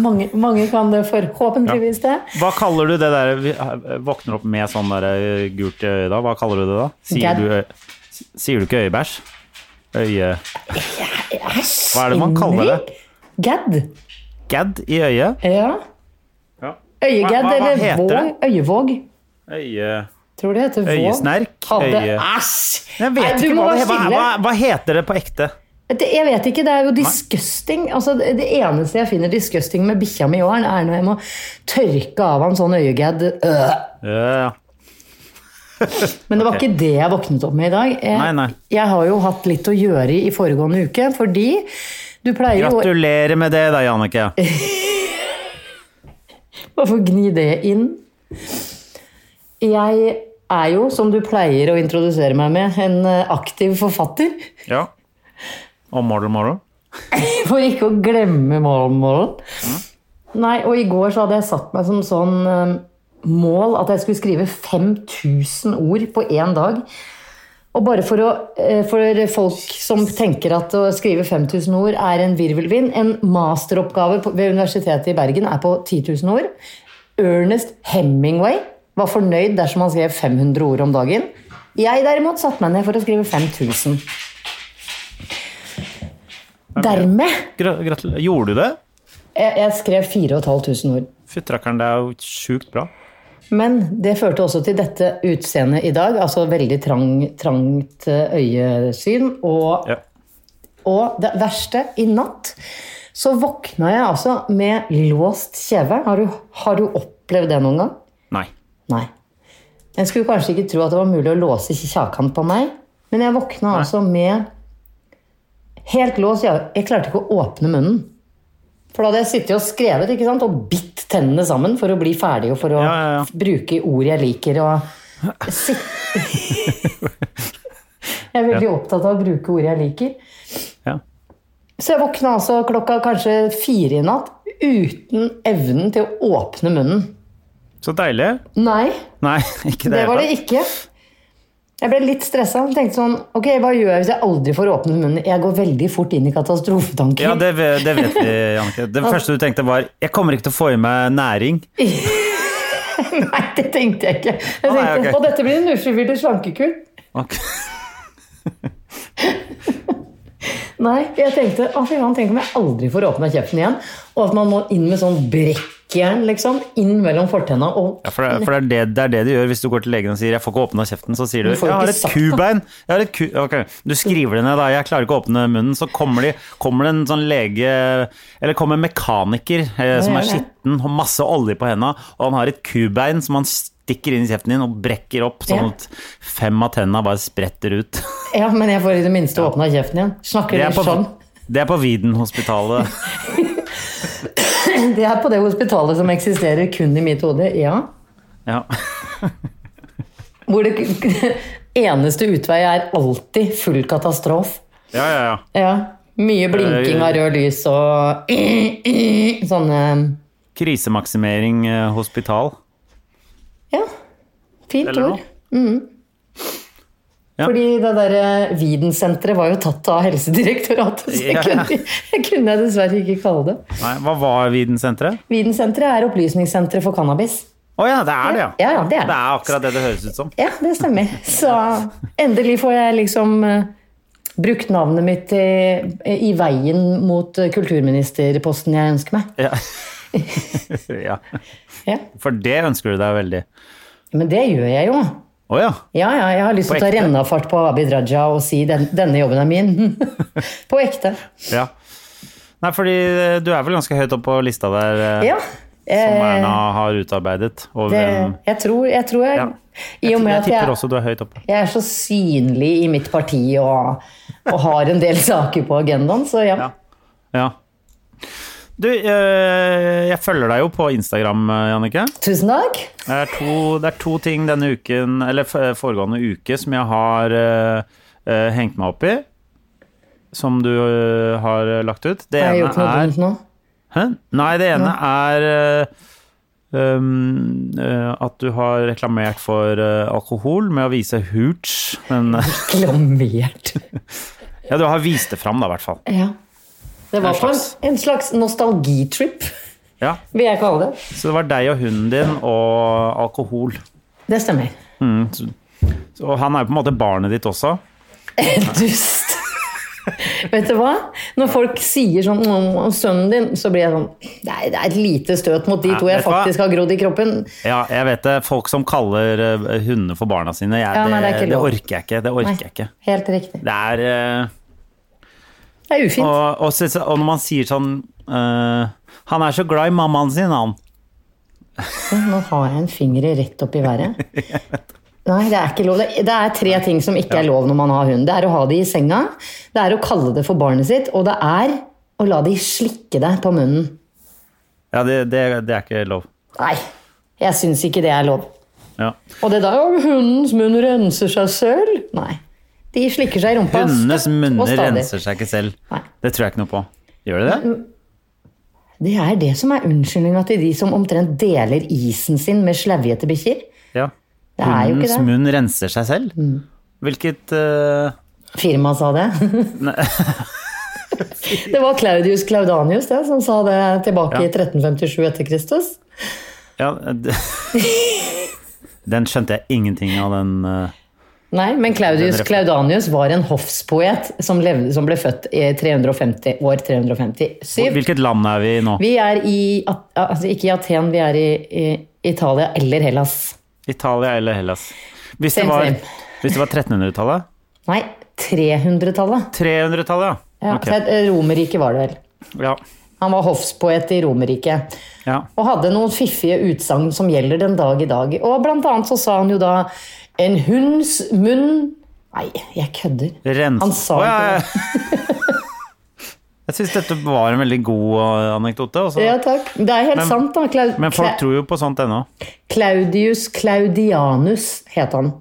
[SPEAKER 2] Mange, mange kan det forhåpentligvis det.
[SPEAKER 1] Hva kaller du det der vi eh, våkner opp med sånn der eh, gult i øyet da? Hva kaller du det da? Sier
[SPEAKER 2] Gad.
[SPEAKER 1] du, ø- s- sier du ikke øyebæsj? Øye...
[SPEAKER 2] Æsj!
[SPEAKER 1] Hva er det man kaller det?
[SPEAKER 2] Gadd.
[SPEAKER 1] Gadd i øyet?
[SPEAKER 2] Ja.
[SPEAKER 1] Ja.
[SPEAKER 2] Øyegedd
[SPEAKER 1] Hva- hva- hva
[SPEAKER 2] eller
[SPEAKER 1] heter
[SPEAKER 2] Våg.
[SPEAKER 1] det?
[SPEAKER 2] Øyevåg.
[SPEAKER 1] Øye...
[SPEAKER 2] Tror det heter Våg.
[SPEAKER 1] Øyesnerk?
[SPEAKER 2] Hadde
[SPEAKER 1] Øye-
[SPEAKER 2] Æsj!
[SPEAKER 1] Jeg
[SPEAKER 2] Nei,
[SPEAKER 1] vet
[SPEAKER 2] du
[SPEAKER 1] ikke
[SPEAKER 2] må
[SPEAKER 1] hva det
[SPEAKER 2] være
[SPEAKER 1] hva,
[SPEAKER 2] stille.
[SPEAKER 1] hva, hva heter det på ekte?
[SPEAKER 2] Det, jeg vet ikke, det er jo disgusting. Altså, det, det eneste jeg finner disgusting med bikkja mi i åren, er når jeg må tørke av han sånn øyegedd. Øh.
[SPEAKER 1] Ja,
[SPEAKER 2] Men det var
[SPEAKER 1] Ok.
[SPEAKER 2] ikke det jeg våknet opp med i dag. Jeg,
[SPEAKER 1] Nei, nei.
[SPEAKER 2] jeg har jo hatt litt å gjøre i foregående uke, fordi du pleier jo
[SPEAKER 1] Eh, Gratulerer med det da, Jannicke.
[SPEAKER 2] [LAUGHS] Hvorfor gni det inn? Jeg er jo, som du pleier å introdusere meg med, en eh, aktiv forfatter.
[SPEAKER 1] Ja. Og morgen, morgen.
[SPEAKER 2] For ikke å glemme morgenmålen. Nei, og i går så hadde jeg satt meg som sånn eh, mål at jeg skulle skrive 5000 ord på én dag. Og bare for, å, eh, for folk som tenker at å skrive 5000 ord er en virvelvind En masteroppgave på, ved Universitetet i Bergen er på 10 000 ord. Ernest Hemingway var fornøyd dersom han skrev 500 ord om dagen. Jeg derimot satte meg ned for å skrive 5000. Dermed
[SPEAKER 1] Gra- Gratulerer. Gjorde du det?
[SPEAKER 2] jeg, jeg skrev 4500 ord.
[SPEAKER 1] Fyttrakkeren, det er jo sjukt bra.
[SPEAKER 2] Men det førte også til dette utseendet i dag. Altså veldig trang, trangt eh, øyesyn. Og,
[SPEAKER 1] Ja.
[SPEAKER 2] og det verste, i natt så våkna jeg altså med låst kjeve. Har du, har du opplevd det noen gang?
[SPEAKER 1] Nei.
[SPEAKER 2] Nei. Jeg skulle kanskje ikke tro at det var mulig å låse kjakan på meg, men jeg våkna altså med helt låst kjeve. Jeg klarte ikke å åpne munnen. For da hadde jeg sittet og skrevet ikke sant? og bitt tennene sammen for å bli ferdig og for å
[SPEAKER 1] Ja, ja, ja.
[SPEAKER 2] bruke ord jeg liker. Og
[SPEAKER 1] [LAUGHS]
[SPEAKER 2] sit... jeg er veldig opptatt av å bruke ord jeg liker.
[SPEAKER 1] Ja.
[SPEAKER 2] Så jeg våkna altså klokka kanskje fire i natt uten evnen til å åpne munnen.
[SPEAKER 1] Så deilig.
[SPEAKER 2] Nei,
[SPEAKER 1] Nei, [LAUGHS] ikke det.
[SPEAKER 2] det var
[SPEAKER 1] hele
[SPEAKER 2] det ikke. Jeg ble litt stressa. Tenkte sånn Ok, hva gjør jeg hvis jeg aldri får åpnet munnen? Jeg går veldig fort inn i katastrofetanker.
[SPEAKER 1] Ja, det, ve- det vet vi, Jannicke. Det første du tenkte var 'jeg kommer ikke til å få i meg næring'.
[SPEAKER 2] [LAUGHS] Nei, det tenkte jeg ikke.
[SPEAKER 1] Å,
[SPEAKER 2] Jeg tenkte,
[SPEAKER 1] nei, ok.
[SPEAKER 2] Og dette blir en ufrivillig slankekur.
[SPEAKER 1] Ok.
[SPEAKER 2] Nei, jeg tenkte å fy faen, tenk om jeg aldri får åpna kjeften igjen. Og at man må inn med sånn brekkjern, liksom. Inn mellom fortenna og
[SPEAKER 1] Ja, for det, for det, er det, det er det du gjør hvis du går til legen og sier 'jeg får ikke åpna kjeften'. Så sier du,
[SPEAKER 2] Du får
[SPEAKER 1] 'jeg har
[SPEAKER 2] ikke
[SPEAKER 1] et
[SPEAKER 2] sagt det.
[SPEAKER 1] kubein'. Jeg har et ku ok. Du skriver det ned da, 'jeg klarer ikke å åpne munnen'. Så kommer, de, kommer det en sånn lege Eller kommer en mekaniker eh, som
[SPEAKER 2] ja,
[SPEAKER 1] er
[SPEAKER 2] ja.
[SPEAKER 1] skitten, har masse olje på henda, og han har et kubein som han stikker inn i kjeften din og brekker opp, sånn
[SPEAKER 2] Ja.
[SPEAKER 1] at fem av tenna bare spretter ut.
[SPEAKER 2] Ja, men jeg får i det minste åpna kjeften igjen. Snakker
[SPEAKER 1] Det er
[SPEAKER 2] dere
[SPEAKER 1] på,
[SPEAKER 2] sånn? [CLEARS THROAT]
[SPEAKER 1] det er på Widenhospitalet.
[SPEAKER 2] Det er på det hospitalet som eksisterer kun i mitt hode, ja.
[SPEAKER 1] Ja.
[SPEAKER 2] Hvor det [LAUGHS] eneste utvei er alltid full katastrof.
[SPEAKER 1] ja, ja, ja.
[SPEAKER 2] Ja. Mye blinking av rød lys og [CLEARS THROAT] sånne
[SPEAKER 1] Krisemaksimering eh, hospital.
[SPEAKER 2] Ja. Fint
[SPEAKER 1] Eller
[SPEAKER 2] ord. Mm.
[SPEAKER 1] noe. Ja.
[SPEAKER 2] Fordi det derre Vidensenteret var jo tatt av Helsedirektoratet, så jeg
[SPEAKER 1] Ja, ja.
[SPEAKER 2] kunne, jeg kunne jeg dessverre ikke kalle det.
[SPEAKER 1] Nei, hva var Widensenteret?
[SPEAKER 2] Vidensenteret er opplysningssenteret for cannabis.
[SPEAKER 1] Å ja, det er det, ja.
[SPEAKER 2] Ja, ja, det er
[SPEAKER 1] Det
[SPEAKER 2] det.
[SPEAKER 1] er akkurat det det høres ut som.
[SPEAKER 2] Ja, det stemmer. Så endelig får jeg liksom eh, brukt navnet mitt i, i veien mot eh, kulturministerposten jeg ønsker meg.
[SPEAKER 1] Ja. [LAUGHS] ja.
[SPEAKER 2] Ja.
[SPEAKER 1] For det ønsker du deg veldig.
[SPEAKER 2] Men det gjør jeg jo.
[SPEAKER 1] Å ja.
[SPEAKER 2] Ja, ja, jeg har lyst til å ta
[SPEAKER 1] ekte?
[SPEAKER 2] rennafart på Abid Raja og si den, 'denne jobben er min'. [LAUGHS] på ekte.
[SPEAKER 1] ja. Nei, fordi eh, du er vel ganske høyt opp på lista der eh,
[SPEAKER 2] Ja.
[SPEAKER 1] som
[SPEAKER 2] eh,
[SPEAKER 1] Erna har utarbeidet. Og
[SPEAKER 2] det,
[SPEAKER 1] hvem-
[SPEAKER 2] jeg tror jeg, tror jeg
[SPEAKER 1] Ja.
[SPEAKER 2] I og med
[SPEAKER 1] jeg
[SPEAKER 2] at
[SPEAKER 1] tipper
[SPEAKER 2] jeg,
[SPEAKER 1] også du er høyt oppe.
[SPEAKER 2] jeg er så synlig i mitt parti og, og har en del saker på agendaen, så ja.
[SPEAKER 1] Ja. Ja. Du, eh, jeg følger deg jo på Instagram, eh, Jannicke.
[SPEAKER 2] Tusen takk.
[SPEAKER 1] Det er, to, det er to ting denne uken, eller f- foregående uke, som jeg har eh, eh, hengt meg opp i. Som du eh, har eh, lagt ut. Det
[SPEAKER 2] Jeg har
[SPEAKER 1] ene
[SPEAKER 2] gjort noe
[SPEAKER 1] er
[SPEAKER 2] dumt nå.
[SPEAKER 1] Hæ? Nei, det ene er eh, um, eh, at du har reklamert for eh, alkohol med å vise hooch. Men eh,
[SPEAKER 2] Klamert.
[SPEAKER 1] ja, du har vist det fram, da, i hvert fall.
[SPEAKER 2] Ja. Det var
[SPEAKER 1] En
[SPEAKER 2] på en,
[SPEAKER 1] slags-
[SPEAKER 2] en slags nostalgitrip,
[SPEAKER 1] Ja,
[SPEAKER 2] vil jeg kalle det.
[SPEAKER 1] Så det var deg og hunden din og alkohol.
[SPEAKER 2] Det stemmer.
[SPEAKER 1] Og han er jo på en måte barnet ditt også.
[SPEAKER 2] Dust. Vet du hva? Når folk sier sånn om, om sønnen din, så blir jeg sånn Det er, det er et lite støt mot de
[SPEAKER 1] Nei,
[SPEAKER 2] to jeg
[SPEAKER 1] vet du hva?
[SPEAKER 2] faktisk har grodd i kroppen.
[SPEAKER 1] Ja, jeg vet det. Folk som kaller eh, hundene for barna sine, jeg,
[SPEAKER 2] Ja,
[SPEAKER 1] det,
[SPEAKER 2] nei, det er ikke
[SPEAKER 1] det
[SPEAKER 2] lov.
[SPEAKER 1] orker jeg ikke. Det orker jeg ikke.
[SPEAKER 2] Helt riktig.
[SPEAKER 1] Det er eh,
[SPEAKER 2] Det er ufint.
[SPEAKER 1] og, og, så- og når man sier sånn eh, Han er så glad i mammaen sin, han.
[SPEAKER 2] Nå har jeg en finger rett opp i
[SPEAKER 1] [LAUGHS]
[SPEAKER 2] været. Nei, det er ikke lov. Det det er tre ting som ikke er lov når man har hund. Det er å ha det i senga, det er å kalle det for barnet sitt, og det er å la de slikke deg på munnen.
[SPEAKER 1] Ja, det, det, det er ikke lov.
[SPEAKER 2] Nei, jeg syns ikke det er lov.
[SPEAKER 1] Ja.
[SPEAKER 2] Og det der om hundens munn renser seg selv? Nei. De slikker seg i rumpa.
[SPEAKER 1] Hundenes
[SPEAKER 2] støtt og
[SPEAKER 1] munner
[SPEAKER 2] stadig. Mm.
[SPEAKER 1] renser seg ikke selv.
[SPEAKER 2] Nei.
[SPEAKER 1] Det tror jeg ikke noe på. Gjør de det?
[SPEAKER 2] Det er det som er unnskyldninga til de som omtrent deler isen sin med slaujete bikkjer.
[SPEAKER 1] Ja.
[SPEAKER 2] Det er jo
[SPEAKER 1] Hundens
[SPEAKER 2] ikke det. Mm.
[SPEAKER 1] munn renser seg selv? Hvilket eh,
[SPEAKER 2] Firmaet sa det. [LAUGHS] det var Claudius Claudanius det, som sa det tilbake i 1357 etter Kristus.
[SPEAKER 1] Ja, d-
[SPEAKER 2] [LAUGHS]
[SPEAKER 1] den skjønte jeg ingenting av, den eh,
[SPEAKER 2] Nei, men Claudius
[SPEAKER 1] Den refer-
[SPEAKER 2] Claudanius var en hoffspoet som, levde, som ble født i 350, år 357.
[SPEAKER 1] Hvilket land er vi i nå?
[SPEAKER 2] Vi er i At- altså Ikke i Aten, vi er i, i Italia eller Hellas.
[SPEAKER 1] Italia eller Hellas? Hvis det
[SPEAKER 2] Same,
[SPEAKER 1] var,
[SPEAKER 2] same.
[SPEAKER 1] hvis det var 1300-tallet?
[SPEAKER 2] Nei, 300-tallet.
[SPEAKER 1] 300-tallet, ja.
[SPEAKER 2] Ja,
[SPEAKER 1] Ok.
[SPEAKER 2] så et- eh, Romerriket var det vel.
[SPEAKER 1] ja.
[SPEAKER 2] Han var hoffspoet i Romerriket.
[SPEAKER 1] ja.
[SPEAKER 2] Og hadde noen fiffige utsagn som gjelder den dag i dag. Og blant annet så sa han jo da En hunds munn Nei, jeg kødder.
[SPEAKER 1] Rens...
[SPEAKER 2] Han sa
[SPEAKER 1] Å, ja, [LAUGHS] ja. Jeg syns dette var en veldig god eh, anekdote. Også.
[SPEAKER 2] Ja, takk. Det er helt
[SPEAKER 1] Men-
[SPEAKER 2] sant, da. Clau-
[SPEAKER 1] Men folk
[SPEAKER 2] Cla-
[SPEAKER 1] tror jo på sånt ennå.
[SPEAKER 2] Claudius Claudianus het han.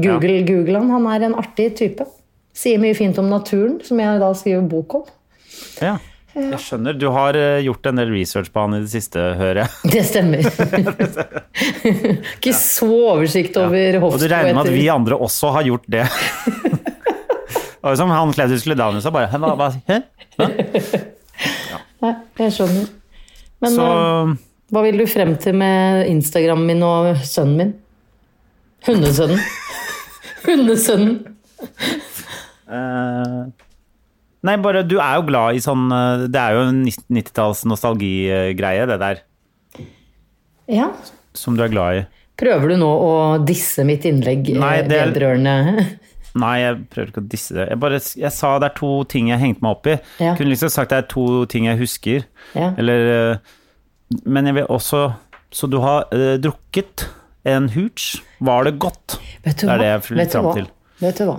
[SPEAKER 2] Google, Google han. Han er en artig type. Sier mye fint om naturen, som jeg da skriver bok om.
[SPEAKER 1] Ja. Jeg skjønner. Du har eh, gjort en del research på han i det siste, hører jeg.
[SPEAKER 2] Det
[SPEAKER 1] [LAUGHS]
[SPEAKER 2] stemmer. Ikke så oversikt over
[SPEAKER 1] Og du regner med at
[SPEAKER 2] hoffspoeter.
[SPEAKER 1] vi andre også har gjort
[SPEAKER 2] [LAUGHS]
[SPEAKER 1] det. Det var jo som han Claudius Ledanus sa bare «Hæ, hva, hva, hæ?
[SPEAKER 2] Nei, jeg skjønner. Men
[SPEAKER 1] Så
[SPEAKER 2] eh, hva vil du frem til med Instagram min og sønnen min?
[SPEAKER 1] [LAUGHS]
[SPEAKER 2] Hundesønnen. Hundesønnen.
[SPEAKER 1] eh, Nei, bare du er jo glad i sånn eh, Det er jo en 90-talls nostalgigreie, det der.
[SPEAKER 2] Ja.
[SPEAKER 1] Som du er glad i.
[SPEAKER 2] Prøver du nå å disse mitt innlegg eh,
[SPEAKER 1] Nei, det-
[SPEAKER 2] vedrørende
[SPEAKER 1] Nei, jeg prøver ikke å disse det. Jeg bare jeg sa det er to ting jeg hengte meg opp i.
[SPEAKER 2] Ja.
[SPEAKER 1] Kunne liksom sagt det er to ting jeg husker.
[SPEAKER 2] Ja.
[SPEAKER 1] Eller eh, Men jeg vil også Så du har eh, drukket en hooch. Var det godt?
[SPEAKER 2] Vet
[SPEAKER 1] [LAUGHS]
[SPEAKER 2] du
[SPEAKER 1] Det er
[SPEAKER 2] hva?
[SPEAKER 1] det jeg vil
[SPEAKER 2] Vet du
[SPEAKER 1] fram
[SPEAKER 2] hva?
[SPEAKER 1] til.
[SPEAKER 2] Vet du hva?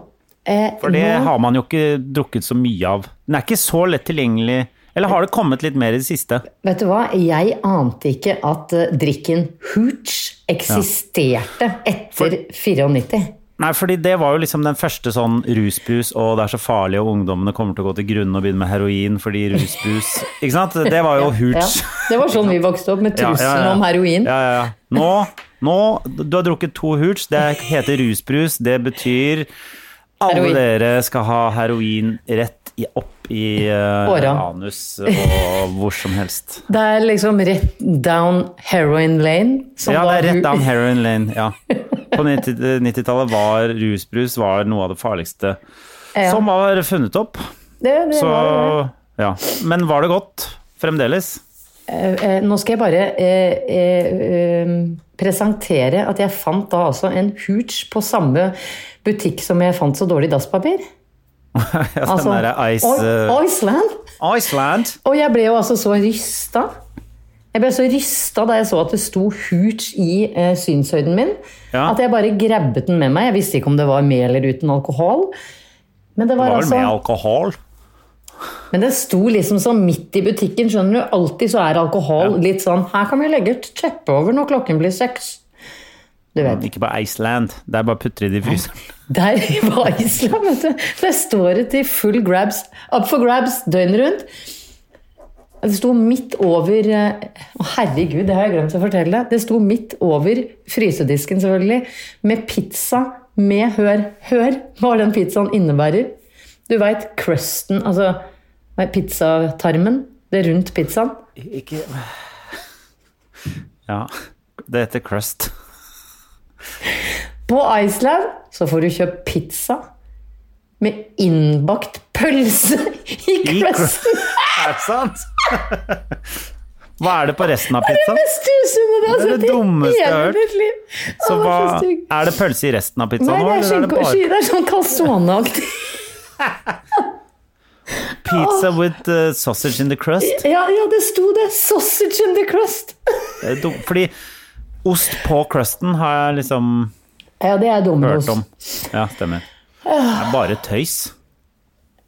[SPEAKER 2] Eh,
[SPEAKER 1] For det
[SPEAKER 2] nå-
[SPEAKER 1] har man jo ikke drukket så mye av. Den er ikke så lett tilgjengelig. Eller har det kommet litt mer i det siste?
[SPEAKER 2] Vet du hva? Jeg ante ikke at eh, drikken hooch eksisterte etter 94.
[SPEAKER 1] Nei, fordi det var jo liksom den første sånn rusbrus, og det er så farlig, og ungdommene kommer til å gå til grunne og begynne med heroin fordi
[SPEAKER 2] [LAUGHS]
[SPEAKER 1] rusbrus Ikke sant? Det var jo
[SPEAKER 2] Ja. [LAUGHS]
[SPEAKER 1] hooch.
[SPEAKER 2] Det var sånn vi vokste opp, med trusselen om heroin.
[SPEAKER 1] Ja, ja, ja. Nå, nå, du har drukket to hooch, det heter rusbrus, det betyr alle
[SPEAKER 2] Heroin.
[SPEAKER 1] dere skal ha heroin rett i, opp i eh,
[SPEAKER 2] Åra.
[SPEAKER 1] anus og hvor som
[SPEAKER 2] [LAUGHS]
[SPEAKER 1] helst.
[SPEAKER 2] Det er liksom rett down heroin lane. som
[SPEAKER 1] Ja, det
[SPEAKER 2] da
[SPEAKER 1] er rett
[SPEAKER 2] hu-
[SPEAKER 1] down heroin lane, ja. På
[SPEAKER 2] [LAUGHS]
[SPEAKER 1] 90 90-tallet var rusbrus var noe av det farligste
[SPEAKER 2] Ja.
[SPEAKER 1] som var funnet opp.
[SPEAKER 2] Det, det
[SPEAKER 1] Så,
[SPEAKER 2] var det.
[SPEAKER 1] ja. Men var det godt fremdeles? [LAUGHS]
[SPEAKER 2] Eh, eh, Nå skal jeg bare eh, eh, eh, presentere at jeg fant da altså en hooch på samme butikk som jeg fant så dårlig dasspapir.
[SPEAKER 1] Ja,
[SPEAKER 2] Altså,
[SPEAKER 1] den derre Ice...
[SPEAKER 2] Oi- Iceland!
[SPEAKER 1] eh, Iceland.
[SPEAKER 2] Og jeg ble jo altså så rysta. Jeg ble så rysta da jeg så at det sto hooch i eh, synshøyden min.
[SPEAKER 1] Ja.
[SPEAKER 2] At jeg bare grabbet den med meg. Jeg visste ikke om det var med eller uten alkohol. Men det
[SPEAKER 1] Det
[SPEAKER 2] var,
[SPEAKER 1] var vel
[SPEAKER 2] altså,
[SPEAKER 1] med alkohol?
[SPEAKER 2] men det sto liksom sånn midt i butikken, skjønner du. Alltid så er alkohol litt sånn Her kan vi legge et teppe over når klokken blir seks. Du vet.
[SPEAKER 1] Ikke på Iceland. Det er bare å putte det i
[SPEAKER 2] [LAUGHS]
[SPEAKER 1] fryseren.
[SPEAKER 2] Der var Island, vet du. Der står det til full grabs. Up for grabs døgnet rundt. Det sto midt over eh, Å, herregud, det har jeg glemt å fortelle deg. Det sto midt over frysedisken, selvfølgelig, med pizza med hør. Hør hva den pizzaen innebærer. Du veit crusten, altså nei, pizzatarmen. Det rundt pizzaen.
[SPEAKER 1] Ikke Ja. Det heter
[SPEAKER 2] [LAUGHS]
[SPEAKER 1] crust.
[SPEAKER 2] På Iceland så får du kjøpt pizza med innbakt pølse [LAUGHS] i
[SPEAKER 1] I
[SPEAKER 2] crusten.
[SPEAKER 1] Er det sant? [LAUGHS] Hva er det på resten av pizzaen?
[SPEAKER 2] Det stussende altså, det har
[SPEAKER 1] Det er det
[SPEAKER 2] sett i
[SPEAKER 1] dummeste jeg har
[SPEAKER 2] hele
[SPEAKER 1] hørt.
[SPEAKER 2] mitt liv. Å,
[SPEAKER 1] Så
[SPEAKER 2] det
[SPEAKER 1] hva,
[SPEAKER 2] er så stygg.
[SPEAKER 1] er det pølse i resten av pizzaen
[SPEAKER 2] Nei,
[SPEAKER 1] nå?
[SPEAKER 2] det er,
[SPEAKER 1] Eller er det
[SPEAKER 2] skinke-
[SPEAKER 1] bare
[SPEAKER 2] sky- det er sånn
[SPEAKER 1] [LAUGHS]
[SPEAKER 2] calzone-aktig.
[SPEAKER 1] pizza with uh, sausage in the crust?
[SPEAKER 2] Ja, ja, det sto det. 'Sausage in the crust'.
[SPEAKER 1] Det er Eh, dum- Fordi ost på crusten har jeg liksom
[SPEAKER 2] Ja, det er altså.
[SPEAKER 1] hørt
[SPEAKER 2] Domino's.
[SPEAKER 1] om. Ja, stemmer. Det er bare tøys.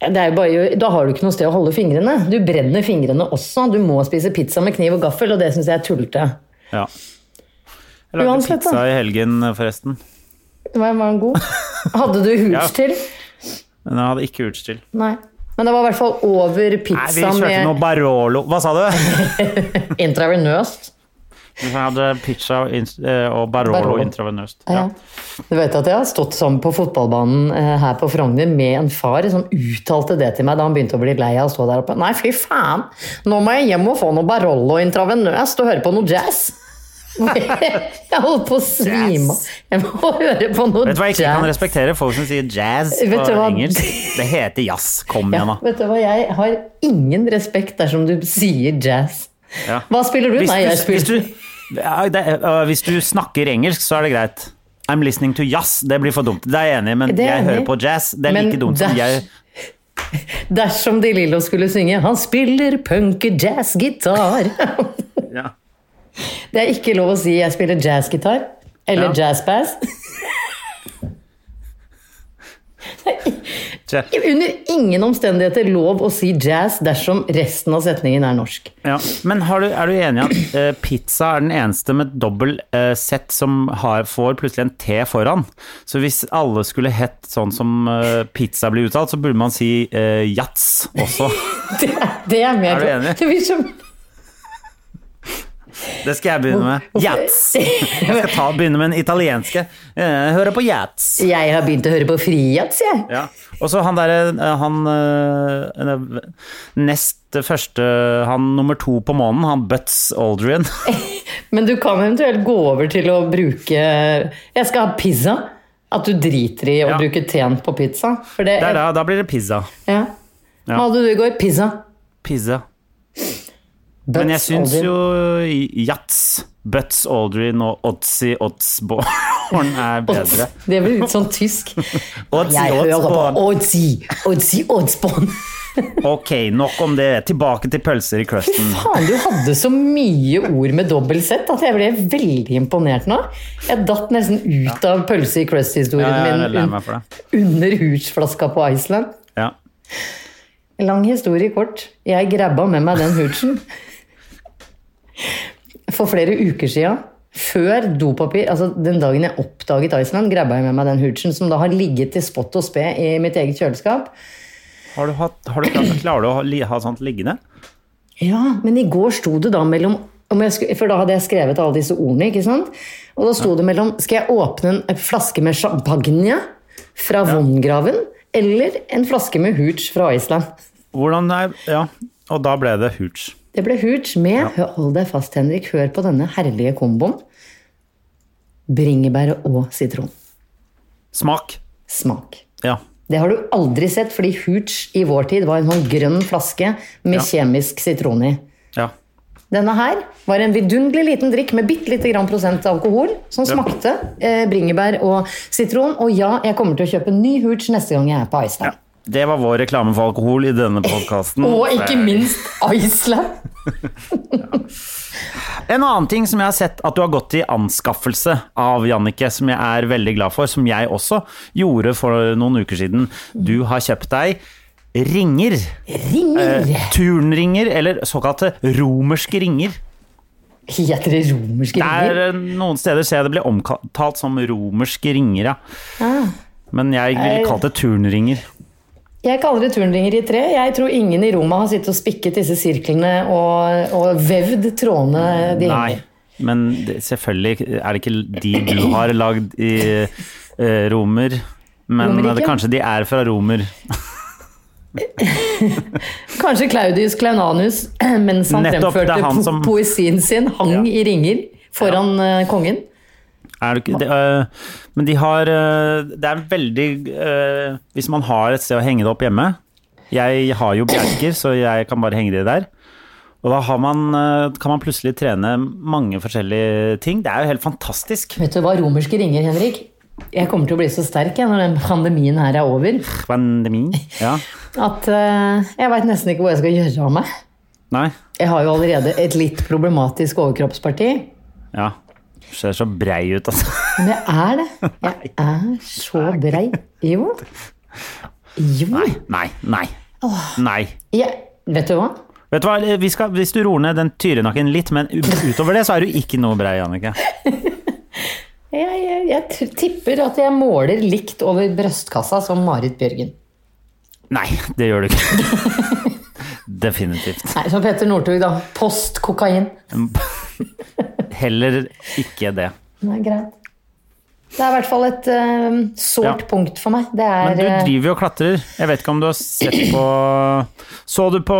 [SPEAKER 2] Det er jo bare, da har du ikke noe sted å holde fingrene. Du brenner fingrene også. Du må spise pizza med kniv og gaffel, og det syns jeg er tullete.
[SPEAKER 1] Ja. Jeg lagde
[SPEAKER 2] Uansett, da.
[SPEAKER 1] pizza i helgen, forresten.
[SPEAKER 2] Var var
[SPEAKER 1] [LAUGHS]
[SPEAKER 2] den god? Hadde du hooch til?
[SPEAKER 1] Men jeg hadde ikke utstyr.
[SPEAKER 2] Nei. Men det var i hvert fall over
[SPEAKER 1] Nei, vi
[SPEAKER 2] pizza
[SPEAKER 1] kjørte noe
[SPEAKER 2] med
[SPEAKER 1] Barolo Hva sa du?
[SPEAKER 2] intravenøst.
[SPEAKER 1] Vi hadde pizza ins- eh, og Barolo,
[SPEAKER 2] Barolo.
[SPEAKER 1] intravenøst.
[SPEAKER 2] Ja.
[SPEAKER 1] Ja.
[SPEAKER 2] Du vet at jeg har stått sammen på fotballbanen eh, her på Frogner med en far som uttalte det til meg da han begynte å bli lei av å stå der oppe. Nei, fy faen! Nå må jeg hjem og få noe Barolo intravenøst og høre på noe
[SPEAKER 1] [LAUGHS]
[SPEAKER 2] jazz! jeg holdt på å svime av. Jeg må høre på noe jazz.
[SPEAKER 1] Vet du hva jeg ikke kan respektere? Folk som sier jazz
[SPEAKER 2] Vet
[SPEAKER 1] på
[SPEAKER 2] du hva?
[SPEAKER 1] engelsk. Det heter jazz. Kom igjen, da.
[SPEAKER 2] Vet du hva, jeg har ingen respekt dersom du sier jazz.
[SPEAKER 1] Ja.
[SPEAKER 2] Hva spiller du?
[SPEAKER 1] Hvis
[SPEAKER 2] Nei,
[SPEAKER 1] du-
[SPEAKER 2] jeg
[SPEAKER 1] hvis
[SPEAKER 2] spiller
[SPEAKER 1] du, ja, det, er- øh, hvis du snakker engelsk, så er det greit. I'm listening to jazz. Det blir for dumt. Det er jeg enig i, men
[SPEAKER 2] Det er jeg
[SPEAKER 1] jeg
[SPEAKER 2] enig i.
[SPEAKER 1] hører på jazz. Det er
[SPEAKER 2] Men
[SPEAKER 1] like dumt som
[SPEAKER 2] dash-
[SPEAKER 1] jeg
[SPEAKER 2] [LAUGHS] Dersom De Lillo skulle synge 'Han spiller punke-jazz-gitar'.
[SPEAKER 1] ja.
[SPEAKER 2] Det er ikke lov å si 'jeg spiller jazz-gitar'
[SPEAKER 1] Ja.
[SPEAKER 2] eller jazz-bass.
[SPEAKER 1] Ja.
[SPEAKER 2] Under ingen omstendigheter lov å si jazz dersom resten av setningen er norsk. [LAUGHS]
[SPEAKER 1] Ja. Men har du, er du enig i at eh, pizza er den eneste med dobbel eh, sett som har, får plutselig en T foran? Så hvis alle skulle hett sånn som eh, pizza blir uttalt, så burde man si eh, jazz også.
[SPEAKER 2] Det er, det er,
[SPEAKER 1] Er
[SPEAKER 2] mer,
[SPEAKER 1] du enig?
[SPEAKER 2] [LAUGHS] Det blir som
[SPEAKER 1] Det skal jeg begynne med. Jazz! Jeg skal ta, begynne med den italienske. Eh, Høre på jazz.
[SPEAKER 2] [LAUGHS] Jeg har begynt å høre på frijazz, jeg.
[SPEAKER 1] Ja. Og så han derre eh, Han eh, eh, nest første Han nummer to på månen, han Butts Aldrian.
[SPEAKER 2] Men du kan eventuelt gå over til å bruke Jeg skal ha pizza. At du driter i å
[SPEAKER 1] Ja.
[SPEAKER 2] bruke teen på pizza. For det,
[SPEAKER 1] Der, da, da blir det pizza.
[SPEAKER 2] Ja. Hva hadde du i går? Pizza.
[SPEAKER 1] Pizza. Men jeg
[SPEAKER 2] Butts,
[SPEAKER 1] syns
[SPEAKER 2] Aldrin.
[SPEAKER 1] jo Jats, Butts Aldrin og Otzi [LAUGHS] Otzborn er bedre.
[SPEAKER 2] Det blir litt sånn
[SPEAKER 1] [LAUGHS]
[SPEAKER 2] tysk.
[SPEAKER 1] Otzi
[SPEAKER 2] Jeg hører på
[SPEAKER 1] Otzborn.
[SPEAKER 2] Odzi, Odzi, Oddsbånd.
[SPEAKER 1] Ok, nok om det. Tilbake til pølser i crusten.
[SPEAKER 2] Faen, du hadde så mye ord med dobbelt sett at jeg ble veldig imponert nå. Jeg datt nesten ut av pølse i
[SPEAKER 1] [LAUGHS]
[SPEAKER 2] crust-historien
[SPEAKER 1] Ja, jeg er lei
[SPEAKER 2] min
[SPEAKER 1] meg for det.
[SPEAKER 2] un- under hooch-flaska på Iceland.
[SPEAKER 1] Ja.
[SPEAKER 2] Lang historie kort. Jeg grabba med meg den hoochen. For flere uker sia, før dopapir Altså den dagen jeg oppdaget Iceland, grabba jeg med meg den hoochen som da har ligget til spott og spe i mitt eget kjøleskap.
[SPEAKER 1] Har du hatt, har du klart, klarer du å ha, li- ha sånt liggende?
[SPEAKER 2] Ja, men i går sto det da mellom om jeg skulle, For da hadde jeg skrevet alle disse ordene, ikke sant? Og da sto det mellom Skal jeg åpne en- en flaske med champagne fra Vongraven? Eller en flaske med hooch fra Iceland?
[SPEAKER 1] Hvordan er Ja, og da ble det hooch.
[SPEAKER 2] Det ble hurt med Hør- Hold deg fast, Henrik. Hør på denne herlige komboen. Bringebær og sitron.
[SPEAKER 1] Smak.
[SPEAKER 2] Smak.
[SPEAKER 1] Ja.
[SPEAKER 2] Det har du aldri sett, fordi hooch i vår tid var en sånn grønn flaske med
[SPEAKER 1] Ja.
[SPEAKER 2] kjemisk sitron i.
[SPEAKER 1] ja.
[SPEAKER 2] Denne her var en vidunderlig liten drikk med bitte lite grann prosent alkohol, som smakte eh, bringebær og sitron. Og ja, jeg kommer til å kjøpe ny hooch neste gang jeg er på Iceland.
[SPEAKER 1] Det var vår reklame for alkohol i denne podkasten.
[SPEAKER 2] Og
[SPEAKER 1] Eh.
[SPEAKER 2] ikke minst Iceland!
[SPEAKER 1] En annen ting som jeg har sett at du har gått i anskaffelse av, Jannicke, som jeg er veldig glad for, som jeg også gjorde for noen uker siden. Du har kjøpt deg ringer. eh,
[SPEAKER 2] Ringer! [LAUGHS]
[SPEAKER 1] Turnringer, eller såkalte romerske ringer.
[SPEAKER 2] Heter det romerske ringer?
[SPEAKER 1] Der eh. noen steder ser jeg det blir omtalt som romerske ringer, ja.
[SPEAKER 2] Ah.
[SPEAKER 1] Men jeg
[SPEAKER 2] Eh.
[SPEAKER 1] ville kalt det turnringer.
[SPEAKER 2] Jeg kaller det turnringer i tre. Jeg tror ingen i Roma har sittet og spikket disse sirklene og, og vevd trådene de
[SPEAKER 1] Nei,
[SPEAKER 2] henger.
[SPEAKER 1] men det, selvfølgelig er det ikke de du har lagd i eh, romer, men
[SPEAKER 2] Romerike?
[SPEAKER 1] det, kanskje de er fra romer.
[SPEAKER 2] Kanskje Claudius Claunanus, [CLEARS THROAT] mens han
[SPEAKER 1] Nettopp, det er
[SPEAKER 2] fremførte
[SPEAKER 1] han
[SPEAKER 2] po
[SPEAKER 1] som-
[SPEAKER 2] poesien sin, hang i ringer foran eh, kongen.
[SPEAKER 1] Er det ikke, det, øh, men de har øh, Det er veldig øh, Hvis man har et sted å henge det opp hjemme Jeg har jo bjelker, så jeg kan bare henge det der. Og da har man, øh, kan man plutselig trene mange forskjellige ting. Det er jo helt fantastisk.
[SPEAKER 2] Vet du hva romerske ringer, Henrik? Jeg kommer til å bli så sterk jeg, når den pandemien her er over,
[SPEAKER 1] Pandemi. Ja.
[SPEAKER 2] at eh, jeg veit nesten ikke hva jeg skal gjøre av meg.
[SPEAKER 1] Nei.
[SPEAKER 2] Jeg har jo allerede et litt problematisk overkroppsparti.
[SPEAKER 1] Ja. Ser så brei ut, altså.
[SPEAKER 2] Men jeg er det. Jeg er så brei. Jo. Jo.
[SPEAKER 1] Nei, nei. Nei.
[SPEAKER 2] Jeg, vet du hva?
[SPEAKER 1] Vet du hva, vi skal, Hvis du roer ned den tyrenakken litt, men u- utover det så er du ikke noe brei, Annike.
[SPEAKER 2] Jeg, jeg, jeg t- tipper at jeg måler likt over brystkassa som Marit Bjørgen.
[SPEAKER 1] Nei, det gjør du ikke. Definitivt.
[SPEAKER 2] Nei, som Petter Northug, da. Post kokain.
[SPEAKER 1] Heller ikke det.
[SPEAKER 2] Nei, greit. Det er i hvert fall et eh, sårt
[SPEAKER 1] Ja.
[SPEAKER 2] punkt for meg. Det er
[SPEAKER 1] Men du
[SPEAKER 2] eh,
[SPEAKER 1] driver jo og klatrer. Jeg vet ikke om du har sett på Så du på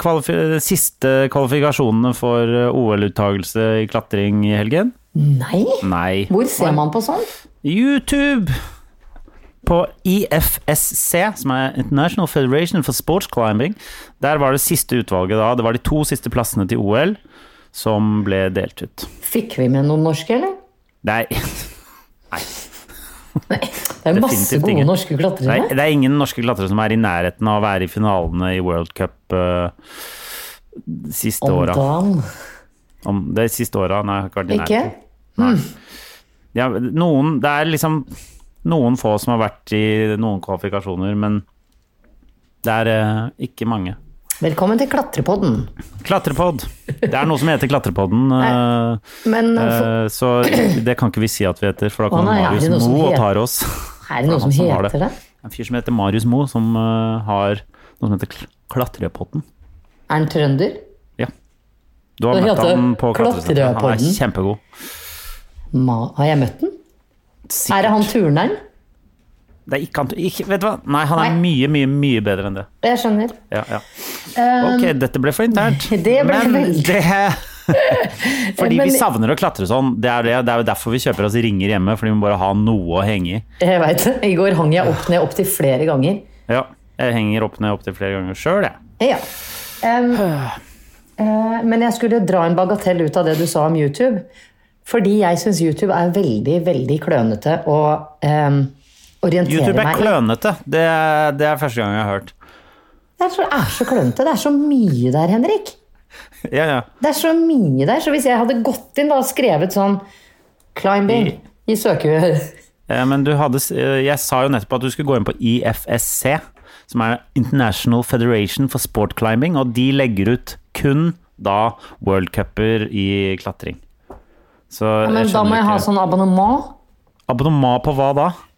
[SPEAKER 1] kvalifi de siste kvalifikasjonene for OL-uttagelse i klatring i helgen?
[SPEAKER 2] Nei?
[SPEAKER 1] Nei.
[SPEAKER 2] Hvor ser man på sånt?
[SPEAKER 1] YouTube! På IFSC, som er International Federation for Sports Climbing, der var det siste utvalget da. Det var de to siste plassene til OL som ble delt ut.
[SPEAKER 2] Fikk vi med noen norske, eller?
[SPEAKER 1] Nei,
[SPEAKER 2] Det er jo masse
[SPEAKER 1] Definitivt
[SPEAKER 2] gode
[SPEAKER 1] ingen.
[SPEAKER 2] norske
[SPEAKER 1] nei
[SPEAKER 2] klatrere.
[SPEAKER 1] det er ingen norske klatrere som er i nærheten av å være i finalene i World Cup eh, de siste
[SPEAKER 2] Om
[SPEAKER 1] åra.
[SPEAKER 2] dagen.
[SPEAKER 1] Om det siste åra, nei, jeg har ikke vært i
[SPEAKER 2] Ikke? Mm.
[SPEAKER 1] nærheten. Ja, noen, det er liksom noen få som har vært i noen kvalifikasjoner, men det er eh, ikke mange.
[SPEAKER 2] Velkommen til klatrepodden.
[SPEAKER 1] Klatrepod. Det er noe som heter
[SPEAKER 2] [LAUGHS]
[SPEAKER 1] Klatrepodden. eh,
[SPEAKER 2] Men for,
[SPEAKER 1] eh, så det kan ikke vi si at vi heter, for da
[SPEAKER 2] Å,
[SPEAKER 1] kommer
[SPEAKER 2] nei, er det
[SPEAKER 1] Marius
[SPEAKER 2] noe som
[SPEAKER 1] Mo og
[SPEAKER 2] heter-
[SPEAKER 1] tar oss. [LAUGHS]
[SPEAKER 2] er det noe
[SPEAKER 1] han
[SPEAKER 2] som
[SPEAKER 1] som har
[SPEAKER 2] heter det?
[SPEAKER 1] En fyr som heter Marius Mo, som eh, har noe som heter Kl- Klatrepodden.
[SPEAKER 2] Er han trønder?
[SPEAKER 1] Du har
[SPEAKER 2] Det
[SPEAKER 1] møtt
[SPEAKER 2] heter
[SPEAKER 1] ham på Klatresenteret. Han er
[SPEAKER 2] Klatrepodden.
[SPEAKER 1] kjempegod.
[SPEAKER 2] Ma, har jeg møtt den? Er det han turneren?
[SPEAKER 1] Det er ikke han ikke, Vet du hva? Nei, han er mye, mye, mye bedre enn det.
[SPEAKER 2] Jeg skjønner.
[SPEAKER 1] Ja, ja. Ok, dette ble for internt.
[SPEAKER 2] Um, [LAUGHS] Det ble
[SPEAKER 1] men
[SPEAKER 2] veldig-
[SPEAKER 1] det Fordi
[SPEAKER 2] Men-
[SPEAKER 1] vi savner å klatre sånn. Det er, det, det er jo derfor vi kjøper oss ringer hjemme, fordi vi må bare ha noe å henge i.
[SPEAKER 2] Jeg vet det. I går hang jeg opp ned opptil flere ganger.
[SPEAKER 1] Ja, jeg henger opp ned opptil flere ganger sjøl, jeg.
[SPEAKER 2] Ja. Em, eh, men jeg skulle dra en bagatell ut av det du sa om YouTube. Fordi jeg syns YouTube er veldig, veldig klønete å em, orientere
[SPEAKER 1] YouTube er
[SPEAKER 2] meg i.
[SPEAKER 1] klønete. Det, er- det er første gang jeg har hørt.
[SPEAKER 2] Det er så, er så klønete. Det er så mye der, Henrik.
[SPEAKER 1] Ja, ja.
[SPEAKER 2] Det er så mye der. Så hvis jeg hadde gått inn da og skrevet sånn 'climbing' i søke...
[SPEAKER 1] Eh, Men du hadde s- eh, Jeg sa jo nettopp at du skulle gå inn på IFSC, som er International Federation for Sport Climbing, og de legger ut kun da World Cuper i klatring. Så
[SPEAKER 2] Men da må jeg ha sånn abonnement
[SPEAKER 1] Abonnement på hva da?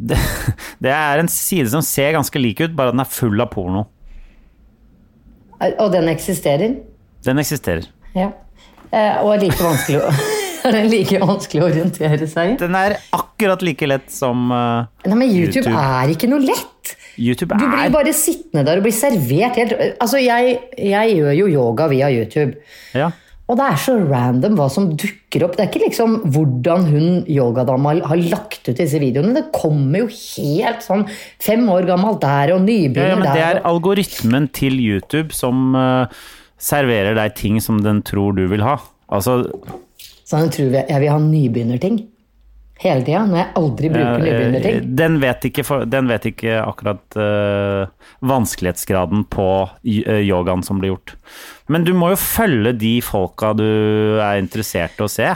[SPEAKER 1] Det, det er en side som ser ganske lik ut, bare at den er full av porno.
[SPEAKER 2] Og den eksisterer?
[SPEAKER 1] Den eksisterer.
[SPEAKER 2] Ja. Eh, og er like vanskelig å [LAUGHS] er det like vanskelig å orientere seg i.
[SPEAKER 1] Den er akkurat like lett som eh,
[SPEAKER 2] Nei, men YouTube,
[SPEAKER 1] YouTube.
[SPEAKER 2] er ikke noe lett.
[SPEAKER 1] YouTube
[SPEAKER 2] Du blir
[SPEAKER 1] er.
[SPEAKER 2] bare sittende der og blir servert helt Altså, jeg, jeg gjør jo yoga via YouTube.
[SPEAKER 1] Ja.
[SPEAKER 2] Og det er så random hva som dukker opp. Det er ikke liksom hvordan hun yogadama har- har lagt ut disse videoene. Det kommer jo helt sånn fem år gammel der
[SPEAKER 1] Ja,
[SPEAKER 2] og
[SPEAKER 1] ja,
[SPEAKER 2] nybegynner
[SPEAKER 1] men det
[SPEAKER 2] der.
[SPEAKER 1] er algoritmen til YouTube som eh, serverer deg ting som den tror du vil ha. Altså,
[SPEAKER 2] Så jeg tror jeg, jeg vil ha nybegynnerting. Hele tida. Når jeg aldri bruker
[SPEAKER 1] eh,
[SPEAKER 2] nybegynnerting.
[SPEAKER 1] den, vet ikke, for- den vet ikke akkurat eh, vanskelighetsgraden på y- eh, yogaen som blir gjort. Men du må jo følge de folka du er interessert i å se.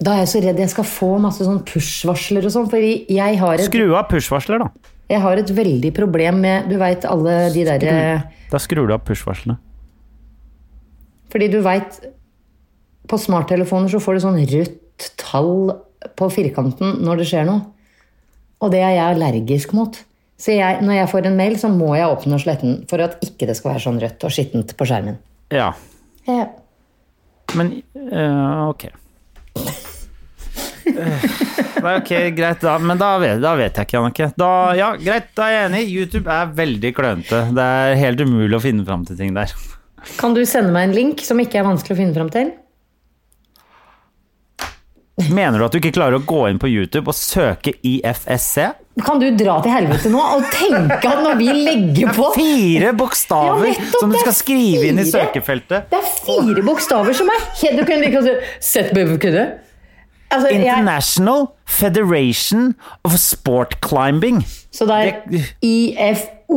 [SPEAKER 2] Da er jeg så redd jeg skal få masse sånn push-varsler og sånn, for jeg har, et,
[SPEAKER 1] Skru av push-varsler, da.
[SPEAKER 2] jeg har et veldig problem med Du veit alle de derre
[SPEAKER 1] Da skrur du av push-varslene.
[SPEAKER 2] Fordi du veit På smarttelefoner så får du sånn rødt tall på firkanten når det skjer noe. Og det er jeg allergisk mot. Så jeg, når jeg får en mail, så må jeg åpne og slette den for at ikke det skal være sånn rødt og skittent på skjermen.
[SPEAKER 1] Ja,
[SPEAKER 2] Ja.
[SPEAKER 1] men eh, ok. Eh, Nei, ok, greit da, men da vet, da vet jeg ikke, Jannicke. Da, ja, greit, da er jeg enig. YouTube er veldig klønete. Det er helt umulig å finne fram til ting der.
[SPEAKER 2] Kan du sende meg en link som ikke er vanskelig å finne fram til?
[SPEAKER 1] Mener du at du ikke klarer å gå inn på YouTube og søke IFSC?
[SPEAKER 2] Kan du dra til helvete nå og tenke at når vi legger på
[SPEAKER 1] Fire bokstaver
[SPEAKER 2] Ja, nettopp,
[SPEAKER 1] som du
[SPEAKER 2] det er
[SPEAKER 1] skal skrive inn i
[SPEAKER 2] fire.
[SPEAKER 1] søkefeltet.
[SPEAKER 2] Det er fire bokstaver som er helt Du kunne like godt sett på kunne du? Altså, jeg,
[SPEAKER 1] International Federation of Sport Climbing.
[SPEAKER 2] så det er IFOSC.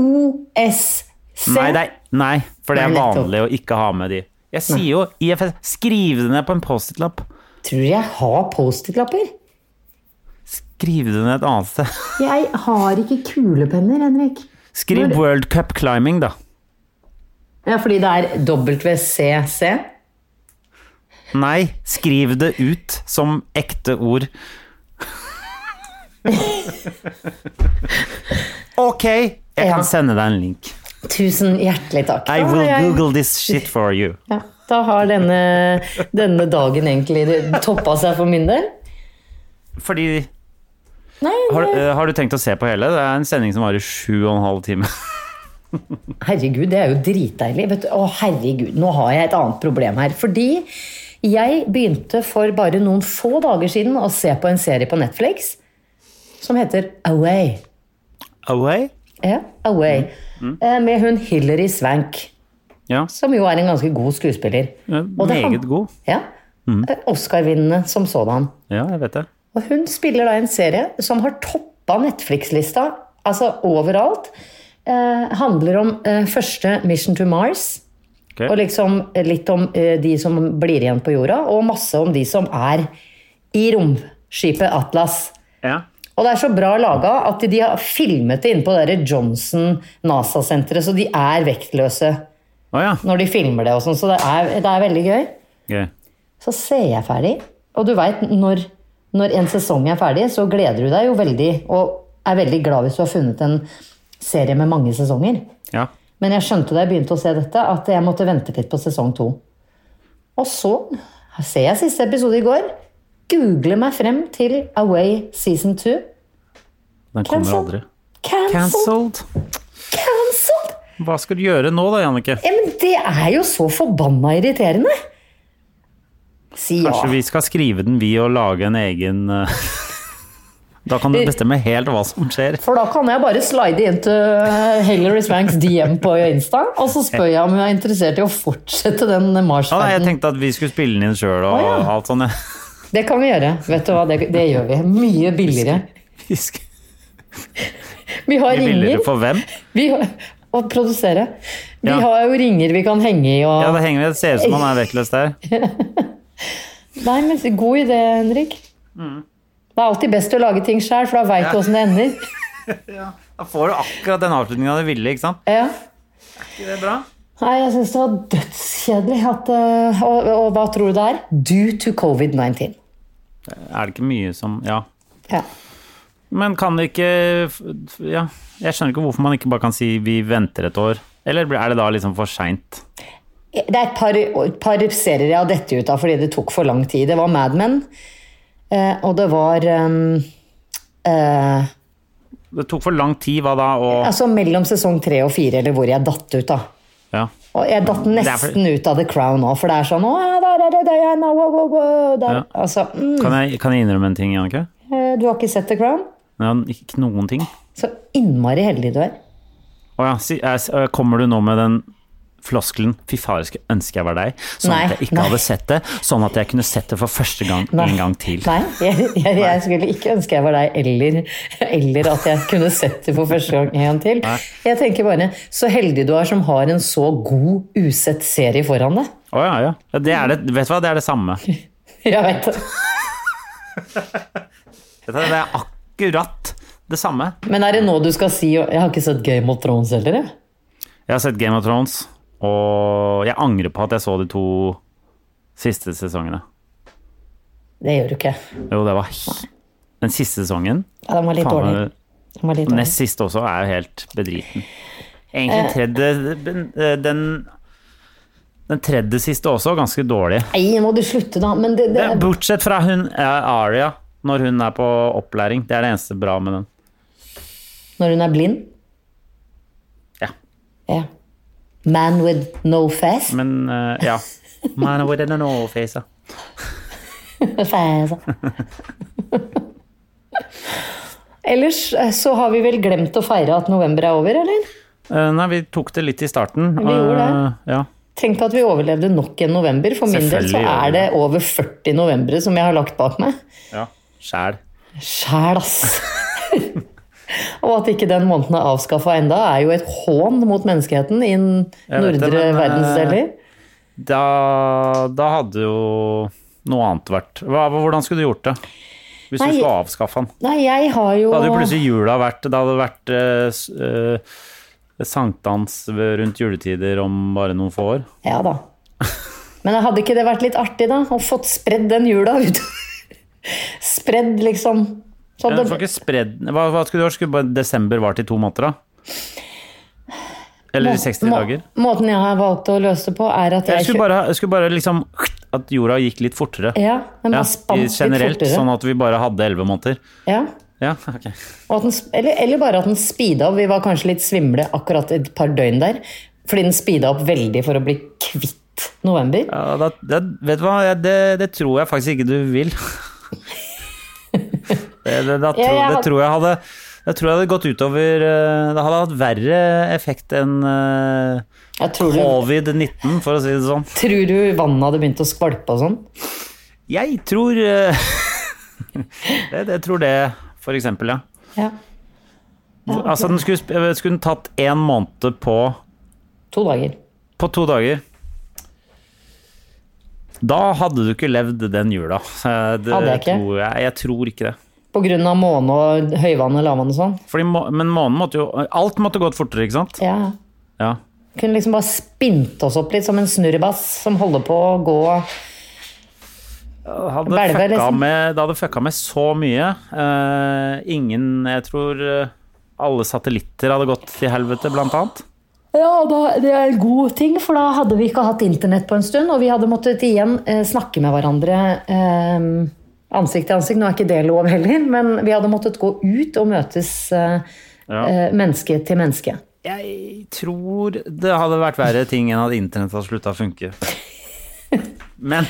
[SPEAKER 1] Nei, det er, nei, for det er
[SPEAKER 2] Nei, nettopp.
[SPEAKER 1] vanlig å ikke ha med de. Jeg sier jo IFS. Skriv det ned på en Post-It-lapp.
[SPEAKER 2] Tror jeg har Post-It-lapper.
[SPEAKER 1] Skriv det ned et annet sted. [LAUGHS]
[SPEAKER 2] Jeg har ikke kulepenner, Henrik.
[SPEAKER 1] Skriv World Cup Climbing, da.
[SPEAKER 2] Ja, fordi det er WCC.
[SPEAKER 1] Nei, skriv det ut som ekte
[SPEAKER 2] [LAUGHS]
[SPEAKER 1] ord. Ok, jeg
[SPEAKER 2] Ja.
[SPEAKER 1] kan sende deg en link.
[SPEAKER 2] Tusen hjertelig takk.
[SPEAKER 1] I
[SPEAKER 2] Da har
[SPEAKER 1] will
[SPEAKER 2] jeg-
[SPEAKER 1] google this shit for you.
[SPEAKER 2] Ja, da har denne, denne dagen egentlig toppa seg for min del.
[SPEAKER 1] Fordi
[SPEAKER 2] Nei,
[SPEAKER 1] har, eh, har du tenkt å se på hele? Det er en sending som varer sju og en halv time.
[SPEAKER 2] Herregud, det er jo dritdeilig. Vet du. Å, herregud, nå har jeg et annet problem her. Fordi jeg begynte for bare noen få dager siden å se på en serie på Netflix som heter Away.
[SPEAKER 1] Away?
[SPEAKER 2] Ja, Away. Eh, Med hun Hilary Swank,
[SPEAKER 1] Ja,
[SPEAKER 2] som jo er en ganske god skuespiller. Og det
[SPEAKER 1] meget
[SPEAKER 2] han-
[SPEAKER 1] god.
[SPEAKER 2] Ja. Eh, Oscar-vinnende som sådan.
[SPEAKER 1] Ja, jeg vet det.
[SPEAKER 2] Og hun spiller da en serie som har toppa Netflix-lista, altså overalt. Eh, handler om eh, første Mission to Mars.
[SPEAKER 1] Ok.
[SPEAKER 2] Og liksom litt om eh, de som blir igjen på jorda, og masse om de som er i romskipet Atlas.
[SPEAKER 1] Ja.
[SPEAKER 2] Og det er så bra laga at de har filmet det inne på det der Johnson NASA-senteret, så de er vektløse
[SPEAKER 1] Å ja.
[SPEAKER 2] når de filmer det og sånn, så det er, det er veldig gøy.
[SPEAKER 1] Gøy.
[SPEAKER 2] Så ser jeg ferdig, og du veit når, når en sesong er ferdig, så gleder du deg jo veldig, og er veldig glad hvis du har funnet en serie med mange sesonger.
[SPEAKER 1] Ja.
[SPEAKER 2] Men jeg skjønte da jeg begynte å se dette, at jeg måtte vente litt på sesong to. Og så ser jeg siste episode i går. Googler meg frem til Away season 2.
[SPEAKER 1] Den kommer
[SPEAKER 2] Cancel.
[SPEAKER 1] aldri.
[SPEAKER 2] Cancelled!
[SPEAKER 1] Cancelled.
[SPEAKER 2] Cancelled!
[SPEAKER 1] Hva skal du gjøre nå da, Jannicke?
[SPEAKER 2] Ja, men det er jo så forbanna irriterende! Si ja.
[SPEAKER 1] Kanskje vi skal skrive den, vi, og lage en egen eh, [LAUGHS] Da kan du bestemme helt hva som skjer.
[SPEAKER 2] For da kan jeg bare slide inn til Hilary Swanks DM på Insta, og så spør jeg om hun er interessert i å fortsette
[SPEAKER 1] Ja,
[SPEAKER 2] den
[SPEAKER 1] nei, jeg
[SPEAKER 2] Mars-ferden.
[SPEAKER 1] tenkte at vi skulle spille den inn sjøl og
[SPEAKER 2] Å, ja.
[SPEAKER 1] alt sånt. [LAUGHS] ja.
[SPEAKER 2] Det kan vi gjøre. Vet du hva, det, det gjør vi. Mye billigere.
[SPEAKER 1] Vi skal-
[SPEAKER 2] Vi har
[SPEAKER 1] Vi billigere
[SPEAKER 2] ringer.
[SPEAKER 1] for hvem?
[SPEAKER 2] Vi har, å produsere. Vi
[SPEAKER 1] Ja.
[SPEAKER 2] har jo ringer vi kan henge i og
[SPEAKER 1] Ja, det henger ved. Det ser ut som han er vektløs der.
[SPEAKER 2] Nei, men god idé, Henrik. Det er alltid best å lage ting sjøl, for da veit du åssen det ender.
[SPEAKER 1] Da får du akkurat den avslutninga du ville, ikke sant?
[SPEAKER 2] Ja.
[SPEAKER 1] Det er bra.
[SPEAKER 2] Nei, jeg syns det var dødskjedelig at eh, og, og hva tror du det er? Due to covid-19.
[SPEAKER 1] Er det ikke mye som Ja.
[SPEAKER 2] Ja.
[SPEAKER 1] Men kan vi ikke f- f- Ja, jeg skjønner ikke hvorfor man ikke bare kan si 'vi venter et år'. Eller er det da liksom for seint?
[SPEAKER 2] Det er et par, et par serier jeg har dette ut av fordi det tok for lang tid. Det var Mad Men, eh, og det var ehm, eh,
[SPEAKER 1] Det tok for lang tid, hva da, og
[SPEAKER 2] Altså mellom sesong tre og fire, eller hvor jeg datt ut, da.
[SPEAKER 1] Ja.
[SPEAKER 2] Og jeg datt
[SPEAKER 1] er for-
[SPEAKER 2] nesten ut av The Crown nå, for det er sånn «Å, der er det Diana, wow, wow, wow, der».
[SPEAKER 1] Ja.
[SPEAKER 2] Altså, mm,
[SPEAKER 1] Kan jeg, kan jeg innrømme en ting, Jannicke?
[SPEAKER 2] eh, Du har ikke sett The Crown?
[SPEAKER 1] Ja, Ikke noen ting.
[SPEAKER 2] Så innmari heldig du er.
[SPEAKER 1] Å ja, si, eh, s- eh, kommer du nå med den floskelen 'fy faen, jeg skulle ønske jeg var deg', sånn
[SPEAKER 2] Nei,
[SPEAKER 1] at jeg ikke
[SPEAKER 2] nei.
[SPEAKER 1] hadde sett det, sånn at jeg kunne sett det for første gang en gang til.
[SPEAKER 2] Nei, jeg, jeg, jeg skulle ikke ønske jeg var deg, eller, eller at jeg kunne sett det for første gang en gang til. Jeg tenker bare, så heldig du er som har en så god usett serie foran deg.
[SPEAKER 1] Å ja, ja. ja det er det, vet du hva, det er det samme.
[SPEAKER 2] Jeg vet det.
[SPEAKER 1] Dette er- Det er akkurat det samme.
[SPEAKER 2] Men er det nå du skal si Jeg har ikke sett Game of Thrones heller, jeg.
[SPEAKER 1] Jeg har sett Game of Thrones, og jeg angrer på at jeg så de to siste sesongene.
[SPEAKER 2] Det gjør du ikke.
[SPEAKER 1] Jo, det var he- Den siste sesongen,
[SPEAKER 2] Ja, den var litt
[SPEAKER 1] faen,
[SPEAKER 2] dårlig.
[SPEAKER 1] meg,
[SPEAKER 2] Den var litt dårlig.
[SPEAKER 1] nest siste også, er jo helt bedriten.
[SPEAKER 2] Eh.
[SPEAKER 1] Egentlig tredje den- Den, den tredje siste også, ganske dårlig.
[SPEAKER 2] Nei, må du slutte, da. Men det, det,
[SPEAKER 1] Det, bortsett fra hun eh, Aria, når hun er på opplæring. Det er det eneste bra med den.
[SPEAKER 2] når hun er blind
[SPEAKER 1] Ja.
[SPEAKER 2] Ja. Man with no face.
[SPEAKER 1] Men eh,
[SPEAKER 2] [LAUGHS]
[SPEAKER 1] ja. Man with an overface. ja.
[SPEAKER 2] Fæsa. Ellers eh, så har vi vel glemt å feire at november er over, eller?
[SPEAKER 1] Eh, Nei, vi tok det litt i starten.
[SPEAKER 2] Vi gjorde
[SPEAKER 1] det. Ja.
[SPEAKER 2] Tenk at vi overlevde nok en november. For min del så
[SPEAKER 1] Selvfølgelig gjør vi
[SPEAKER 2] er det over 40 novembre som jeg har lagt bak meg.
[SPEAKER 1] ja. Sjæl.
[SPEAKER 2] Sjæl, ass!
[SPEAKER 1] [LAUGHS]
[SPEAKER 2] Og at ikke den måneden er avskaffa enda, er jo et hån mot menneskeheten i den
[SPEAKER 1] Jeg vet det,
[SPEAKER 2] nordre
[SPEAKER 1] men, eh,
[SPEAKER 2] verdensdeler.
[SPEAKER 1] Da, da hadde jo noe annet vært Hva, Hvordan skulle du gjort det? Hvis
[SPEAKER 2] Nei,
[SPEAKER 1] du skulle avskaffe han?
[SPEAKER 2] Nei, jeg har jo
[SPEAKER 1] Da hadde jo plutselig jula vært Det hadde vært eh, s- eh, sankthans rundt juletider om bare noen få år.
[SPEAKER 2] Ja da. Men hadde ikke det vært litt artig, da? Å fått spredd den jula ut? [LAUGHS] spredd, liksom. Så
[SPEAKER 1] Ja,
[SPEAKER 2] det-
[SPEAKER 1] du får ikke spredd den. hva, hva skulle du gjøre? Skulle bare desember vart i to måneder, da? Eller i 60
[SPEAKER 2] må-
[SPEAKER 1] dager?
[SPEAKER 2] Måten jeg har valgt å løse det på, er at
[SPEAKER 1] Jeg
[SPEAKER 2] jeg
[SPEAKER 1] skulle bare, jeg skulle bare liksom At jorda gikk litt fortere.
[SPEAKER 2] Ja, den
[SPEAKER 1] Ja,
[SPEAKER 2] bare spant
[SPEAKER 1] i- generelt,
[SPEAKER 2] litt fortere.
[SPEAKER 1] sånn at vi bare hadde elleve måneder.
[SPEAKER 2] Ja.
[SPEAKER 1] Ja, ok.
[SPEAKER 2] Og at den, sp- eller, eller bare at den speeda opp. Vi var kanskje litt svimle akkurat et par døgn der. Fordi den speeda opp veldig for å bli kvitt november.
[SPEAKER 1] Ja, da, det, vet du hva, Jeg- det, det tror jeg faktisk ikke du
[SPEAKER 2] [LAUGHS]
[SPEAKER 1] vil. Det, det, da, tro,
[SPEAKER 2] Ja, jeg
[SPEAKER 1] det
[SPEAKER 2] had-
[SPEAKER 1] tror jeg hadde Det tror jeg hadde gått utover eh, Det hadde hatt verre effekt enn eh,
[SPEAKER 2] Jeg tror du,
[SPEAKER 1] covid-19, for å si det sånn.
[SPEAKER 2] tror du vannet hadde begynt å skvalpe og sånn?
[SPEAKER 1] Jeg tror eh, [LAUGHS] det, det tror det, for eksempel, ja.
[SPEAKER 2] Ja.
[SPEAKER 1] Altså, den skulle, sp- eh, skulle den tatt én måned på,
[SPEAKER 2] To dager.
[SPEAKER 1] på to dager. Da hadde du ikke levd den jula. Eh, Det
[SPEAKER 2] Hadde jeg ikke?
[SPEAKER 1] Tror jeg, jeg tror ikke det.
[SPEAKER 2] På grunn av måne og høyvann og lavvann og sånn.
[SPEAKER 1] Fordi, må- men månen måtte jo Alt måtte gått fortere, ikke sant?
[SPEAKER 2] Ja.
[SPEAKER 1] Ja.
[SPEAKER 2] Kunne liksom bare spint oss opp litt som en snurrebass som holder på å gå
[SPEAKER 1] Det hadde,
[SPEAKER 2] Belver,
[SPEAKER 1] fucka
[SPEAKER 2] liksom.
[SPEAKER 1] med, det hadde fucka med så mye. Eh, ingen Jeg tror eh, alle satellitter hadde gått til helvete, blant annet.
[SPEAKER 2] Ja, da, det er en god ting, for da hadde vi ikke hatt internett på en stund, og vi hadde måttet igjen eh, snakke med hverandre eh, ansikt til ansikt. Nå er ikke det lov heller, men vi hadde måttet gå ut og møtes eh,
[SPEAKER 1] Ja.
[SPEAKER 2] eh, menneske til menneske.
[SPEAKER 1] Jeg tror det hadde vært verre ting enn at internett hadde slutta å funke. [LAUGHS] Men,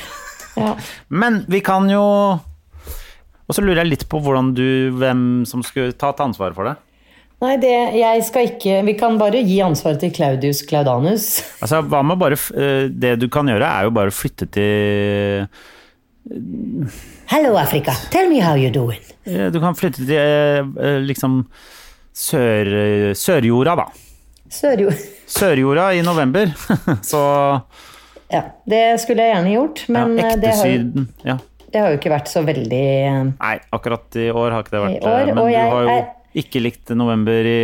[SPEAKER 2] Ja.
[SPEAKER 1] men vi kan jo Og så lurer jeg litt på hvordan du, hvem som skulle tatt ansvaret for det.
[SPEAKER 2] Nei, det, jeg skal ikke Vi kan bare gi ansvaret til Claudius Claudanus.
[SPEAKER 1] Altså, hva med bare f- eh, Det du kan gjøre, er jo bare å flytte til
[SPEAKER 2] Hello, Africa. Tell me how you're doing.
[SPEAKER 1] Eh, Du kan flytte til eh, eh, liksom sør, eh, Sørjorda, da.
[SPEAKER 2] Sørjo...
[SPEAKER 1] Sørjorda i november. [LAUGHS] Så
[SPEAKER 2] Ja, det skulle jeg gjerne gjort,
[SPEAKER 1] ja,
[SPEAKER 2] men eh, det,
[SPEAKER 1] ekte
[SPEAKER 2] har, jo-
[SPEAKER 1] Syden. Ja.
[SPEAKER 2] det har jo ikke vært så veldig eh,
[SPEAKER 1] Nei, akkurat i år har ikke det
[SPEAKER 2] I
[SPEAKER 1] vært
[SPEAKER 2] år,
[SPEAKER 1] eh, Men
[SPEAKER 2] og
[SPEAKER 1] du
[SPEAKER 2] jeg
[SPEAKER 1] har jo
[SPEAKER 2] er-
[SPEAKER 1] ikke likt november i,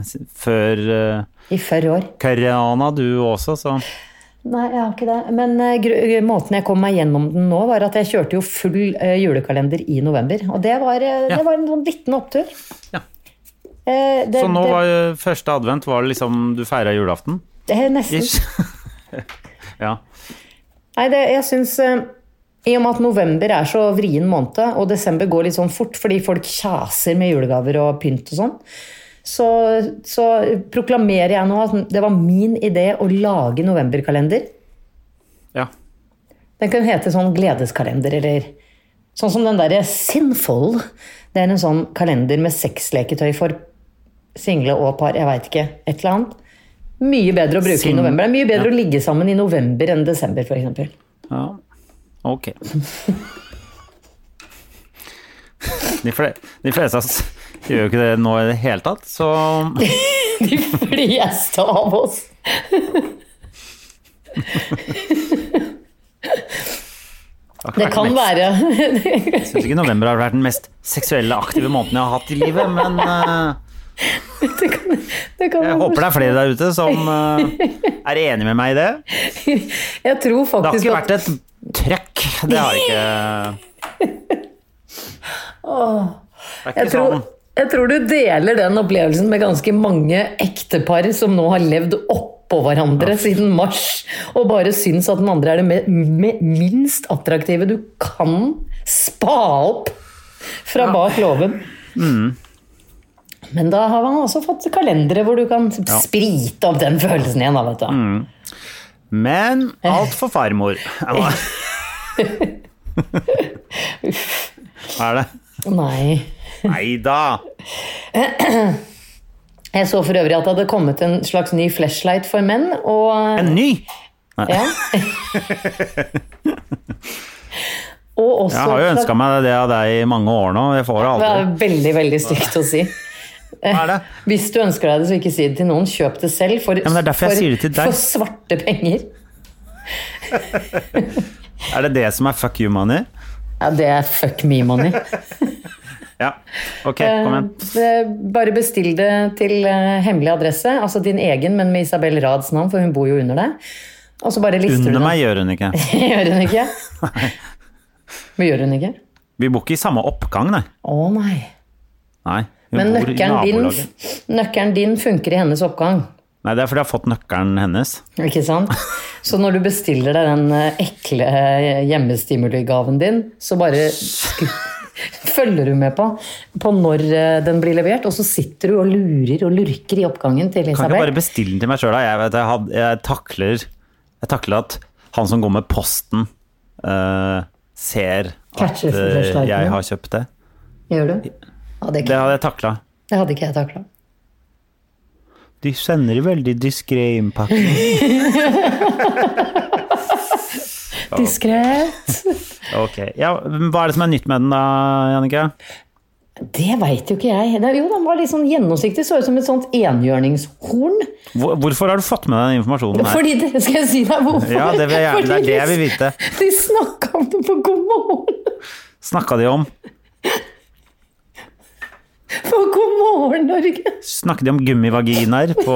[SPEAKER 1] s- før eh,
[SPEAKER 2] i førre år.
[SPEAKER 1] Kariana, du også, så
[SPEAKER 2] Nei, jeg har ikke det. Men eh, gru- måten jeg kom meg gjennom den nå, var at jeg kjørte jo full eh, julekalender i november. Og det var, eh,
[SPEAKER 1] Ja.
[SPEAKER 2] det var en sånn liten opptur.
[SPEAKER 1] Ja.
[SPEAKER 2] Eh, det,
[SPEAKER 1] Så nå
[SPEAKER 2] det-
[SPEAKER 1] var jo første advent var det liksom du feira julaften?
[SPEAKER 2] det, er Nesten.
[SPEAKER 1] Ish. [LAUGHS] ja.
[SPEAKER 2] Nei, det, jeg syns eh, I og med at november er så vrien måned, og desember går litt sånn fort fordi folk kjaser med julegaver og pynt og sånn, så, så proklamerer jeg nå at det var min idé å lage novemberkalender.
[SPEAKER 1] Ja.
[SPEAKER 2] Den kan hete sånn gledeskalender, eller sånn som den derre Sinful. Det er en sånn kalender med sexleketøy for single og par, jeg veit ikke. Et eller annet. Mye bedre å bruke i
[SPEAKER 1] Sin-
[SPEAKER 2] november. Det er mye bedre å ligge sammen i november enn desember, [LAUGHS] f.eks.
[SPEAKER 1] ja. Ok. De, fle de fleste av oss gjør jo ikke det nå i det hele tatt, så
[SPEAKER 2] De fleste av oss. Det kan være [LAUGHS]
[SPEAKER 1] Jeg syns ikke november har vært den mest seksuelle aktive måneden jeg har hatt i livet, men eh,
[SPEAKER 2] Det kan, det kan
[SPEAKER 1] jeg
[SPEAKER 2] være-
[SPEAKER 1] håper det er flere der ute som eh, er enig med meg i det.
[SPEAKER 2] Jeg tror
[SPEAKER 1] Det har
[SPEAKER 2] faktisk
[SPEAKER 1] ikke
[SPEAKER 2] at-
[SPEAKER 1] vært et trøkk. Det har det ikke Det er
[SPEAKER 2] Jeg
[SPEAKER 1] ikke
[SPEAKER 2] tror,
[SPEAKER 1] sånn
[SPEAKER 2] jeg tror du deler den opplevelsen med ganske mange ektepar som nå har levd oppå hverandre siden mars, og bare syns at den andre er det me, me, minst attraktive du kan spa opp fra bak låven.
[SPEAKER 1] Mm.
[SPEAKER 2] Men da har man også fått kalendere hvor du kan sprite opp den følelsen igjen. Da, vet du.
[SPEAKER 1] Mm. Men alt for
[SPEAKER 2] [LAUGHS]
[SPEAKER 1] farmor. Ja, Hva Hva er det?
[SPEAKER 2] Nei.
[SPEAKER 1] Nei da!
[SPEAKER 2] Jeg så for øvrig at det hadde kommet en slags ny flashlight for menn. og...
[SPEAKER 1] En ny!
[SPEAKER 2] Ja. og også
[SPEAKER 1] Jeg har jo ønska meg det av deg i mange år nå. Jeg får det
[SPEAKER 2] Det er
[SPEAKER 1] aldri.
[SPEAKER 2] veldig, veldig stygt å si.
[SPEAKER 1] Hva er det?
[SPEAKER 2] Hvis du ønsker deg det, så ikke si det til noen. Kjøp det selv for,
[SPEAKER 1] men det er derfor jeg
[SPEAKER 2] for,
[SPEAKER 1] sier det til deg.
[SPEAKER 2] for svarte penger.
[SPEAKER 1] Er det det som er fuck you money?
[SPEAKER 2] Ja, det er fuck me money.
[SPEAKER 1] Ja. Ok, kom igjen.
[SPEAKER 2] Eh, Bare bestill det til eh, hemmelig adresse, altså din egen, men med Isabel Rads navn, for hun bor jo under deg. Og så bare lister
[SPEAKER 1] Under
[SPEAKER 2] du
[SPEAKER 1] meg gjør hun ikke.
[SPEAKER 2] det. [LAUGHS] Gjør hun ikke?
[SPEAKER 1] [LAUGHS]
[SPEAKER 2] Men gjør hun ikke?
[SPEAKER 1] Vi bor ikke i samme oppgang, nei.
[SPEAKER 2] Å nei.
[SPEAKER 1] nei hun
[SPEAKER 2] Men
[SPEAKER 1] bor i
[SPEAKER 2] nøkkelen din,
[SPEAKER 1] nabolaget.
[SPEAKER 2] nøkkelen din funker i hennes oppgang.
[SPEAKER 1] Nei, det er fordi jeg har fått nøkkelen hennes.
[SPEAKER 2] Ikke sant? Så når du bestiller deg den eh, ekle eh, hjemmestimuligaven din, så bare sku- [LAUGHS] følger du med på, på når eh, den blir levert, og så sitter du og lurer og lurker i oppgangen til
[SPEAKER 1] Kan ikke bare
[SPEAKER 2] Elisabeth.
[SPEAKER 1] bestille den til meg sjøl, da. Jeg, vet, jeg, had, jeg, takler, jeg takler at han som går med posten, eh, ser at
[SPEAKER 2] Catcher
[SPEAKER 1] eh,
[SPEAKER 2] flashlighten.
[SPEAKER 1] jeg har kjøpt det.
[SPEAKER 2] Gjør du? Ja, det,
[SPEAKER 1] Det
[SPEAKER 2] ikke,
[SPEAKER 1] hadde jeg takla.
[SPEAKER 2] det hadde ikke jeg takla.
[SPEAKER 1] De sender i veldig diskré innpakning.
[SPEAKER 2] Diskret.
[SPEAKER 1] Ok. Ja, men hva er det som er nytt med den da, Jannicke?
[SPEAKER 2] Det veit jo ikke jeg. Det, jo, den var litt sånn gjennomsiktig. Så ut som et sånt enhjørningshorn.
[SPEAKER 1] Hvor- Hvorfor har du fått med deg den informasjonen her?
[SPEAKER 2] Fordi det, Skal jeg si deg hvorfor?
[SPEAKER 1] Ja, det vil jeg gjerne. Det er
[SPEAKER 2] Fordi
[SPEAKER 1] det jeg vil vite.
[SPEAKER 2] De snakka om det på God morgen.
[SPEAKER 1] Snakka de om
[SPEAKER 2] På God morgen, Norge.
[SPEAKER 1] Snakket de om gummivaginaer på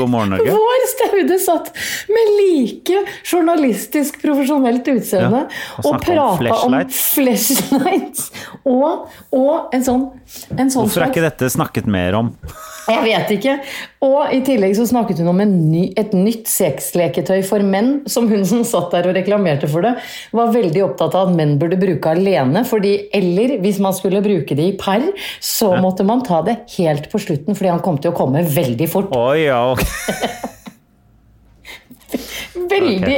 [SPEAKER 1] God morgen Norge?
[SPEAKER 2] Vår Staude satt med like journalistisk profesjonelt utseende
[SPEAKER 1] Ja, og
[SPEAKER 2] og
[SPEAKER 1] snakket om
[SPEAKER 2] prata om flashlights og, og en sånn, en sånn
[SPEAKER 1] Hvorfor er ikke dette snakket mer om?
[SPEAKER 2] Jeg vet ikke. Og i tillegg så snakket hun om en ny, et nytt sexleketøy for menn, som hun som satt der og reklamerte for det, var veldig opptatt av at menn burde bruke alene. fordi Eller hvis man skulle bruke det i par, så måtte man ta det helt på slutten, fordi han kom til å komme veldig fort.
[SPEAKER 1] Oi, ja, ok.
[SPEAKER 2] Veldig,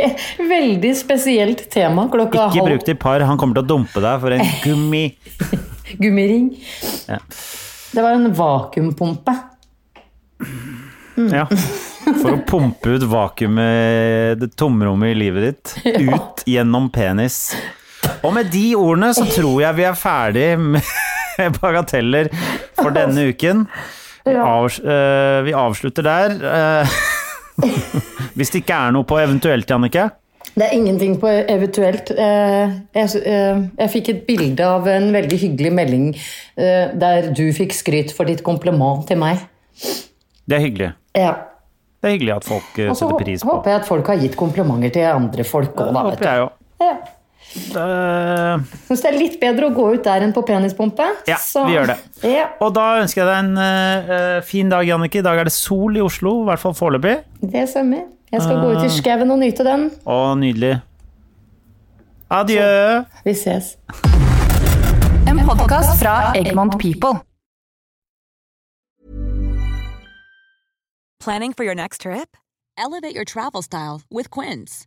[SPEAKER 2] veldig spesielt tema klokka
[SPEAKER 1] Ikke bruk
[SPEAKER 2] halv
[SPEAKER 1] det i par, han kommer til å dumpe deg for en gummi.
[SPEAKER 2] gummiring.
[SPEAKER 1] Ja.
[SPEAKER 2] Det var en vakuumpumpe.
[SPEAKER 1] Ja. For å pumpe ut vakuumet, det tomrommet i livet ditt, ut gjennom penis. Og med de ordene så tror jeg vi er ferdig med bagateller for denne uken. Vi, avs eh, vi avslutter der. eh. hvis det ikke er noe på eventuelt, Jannicke.
[SPEAKER 2] Det er ingenting på eventuelt. Eh, Jeg, s- eh, jeg fikk et bilde av en veldig hyggelig melding eh, der du fikk skryt for ditt kompliment til meg.
[SPEAKER 1] Det er hyggelig.
[SPEAKER 2] Ja.
[SPEAKER 1] Det er hyggelig at folk eh,
[SPEAKER 2] Og så
[SPEAKER 1] setter
[SPEAKER 2] hå-
[SPEAKER 1] pris på.
[SPEAKER 2] håper jeg at folk har gitt komplimenter til andre folk òg,
[SPEAKER 1] Det
[SPEAKER 2] da.
[SPEAKER 1] håper
[SPEAKER 2] Vet du.
[SPEAKER 1] jeg jo.
[SPEAKER 2] Ja.
[SPEAKER 1] Da- eh,
[SPEAKER 2] Syns det er litt bedre å gå ut der enn på penispumpe.
[SPEAKER 1] Ja,
[SPEAKER 2] så-
[SPEAKER 1] vi gjør det.
[SPEAKER 2] Ja,
[SPEAKER 1] Og da ønsker jeg deg en eh, eh, fin dag, Jannicke. I dag er det sol i Oslo, i hvert fall foreløpig.
[SPEAKER 2] det stemmer. Jeg skal gå
[SPEAKER 1] Ah.
[SPEAKER 2] ut i skauen og nyte den.
[SPEAKER 1] Og nydelig. Adjø.
[SPEAKER 2] Vi ses.
[SPEAKER 3] En podkast fra Egmont People.
[SPEAKER 4] Planning for your next trip?
[SPEAKER 3] Elevate your travel style with Quince.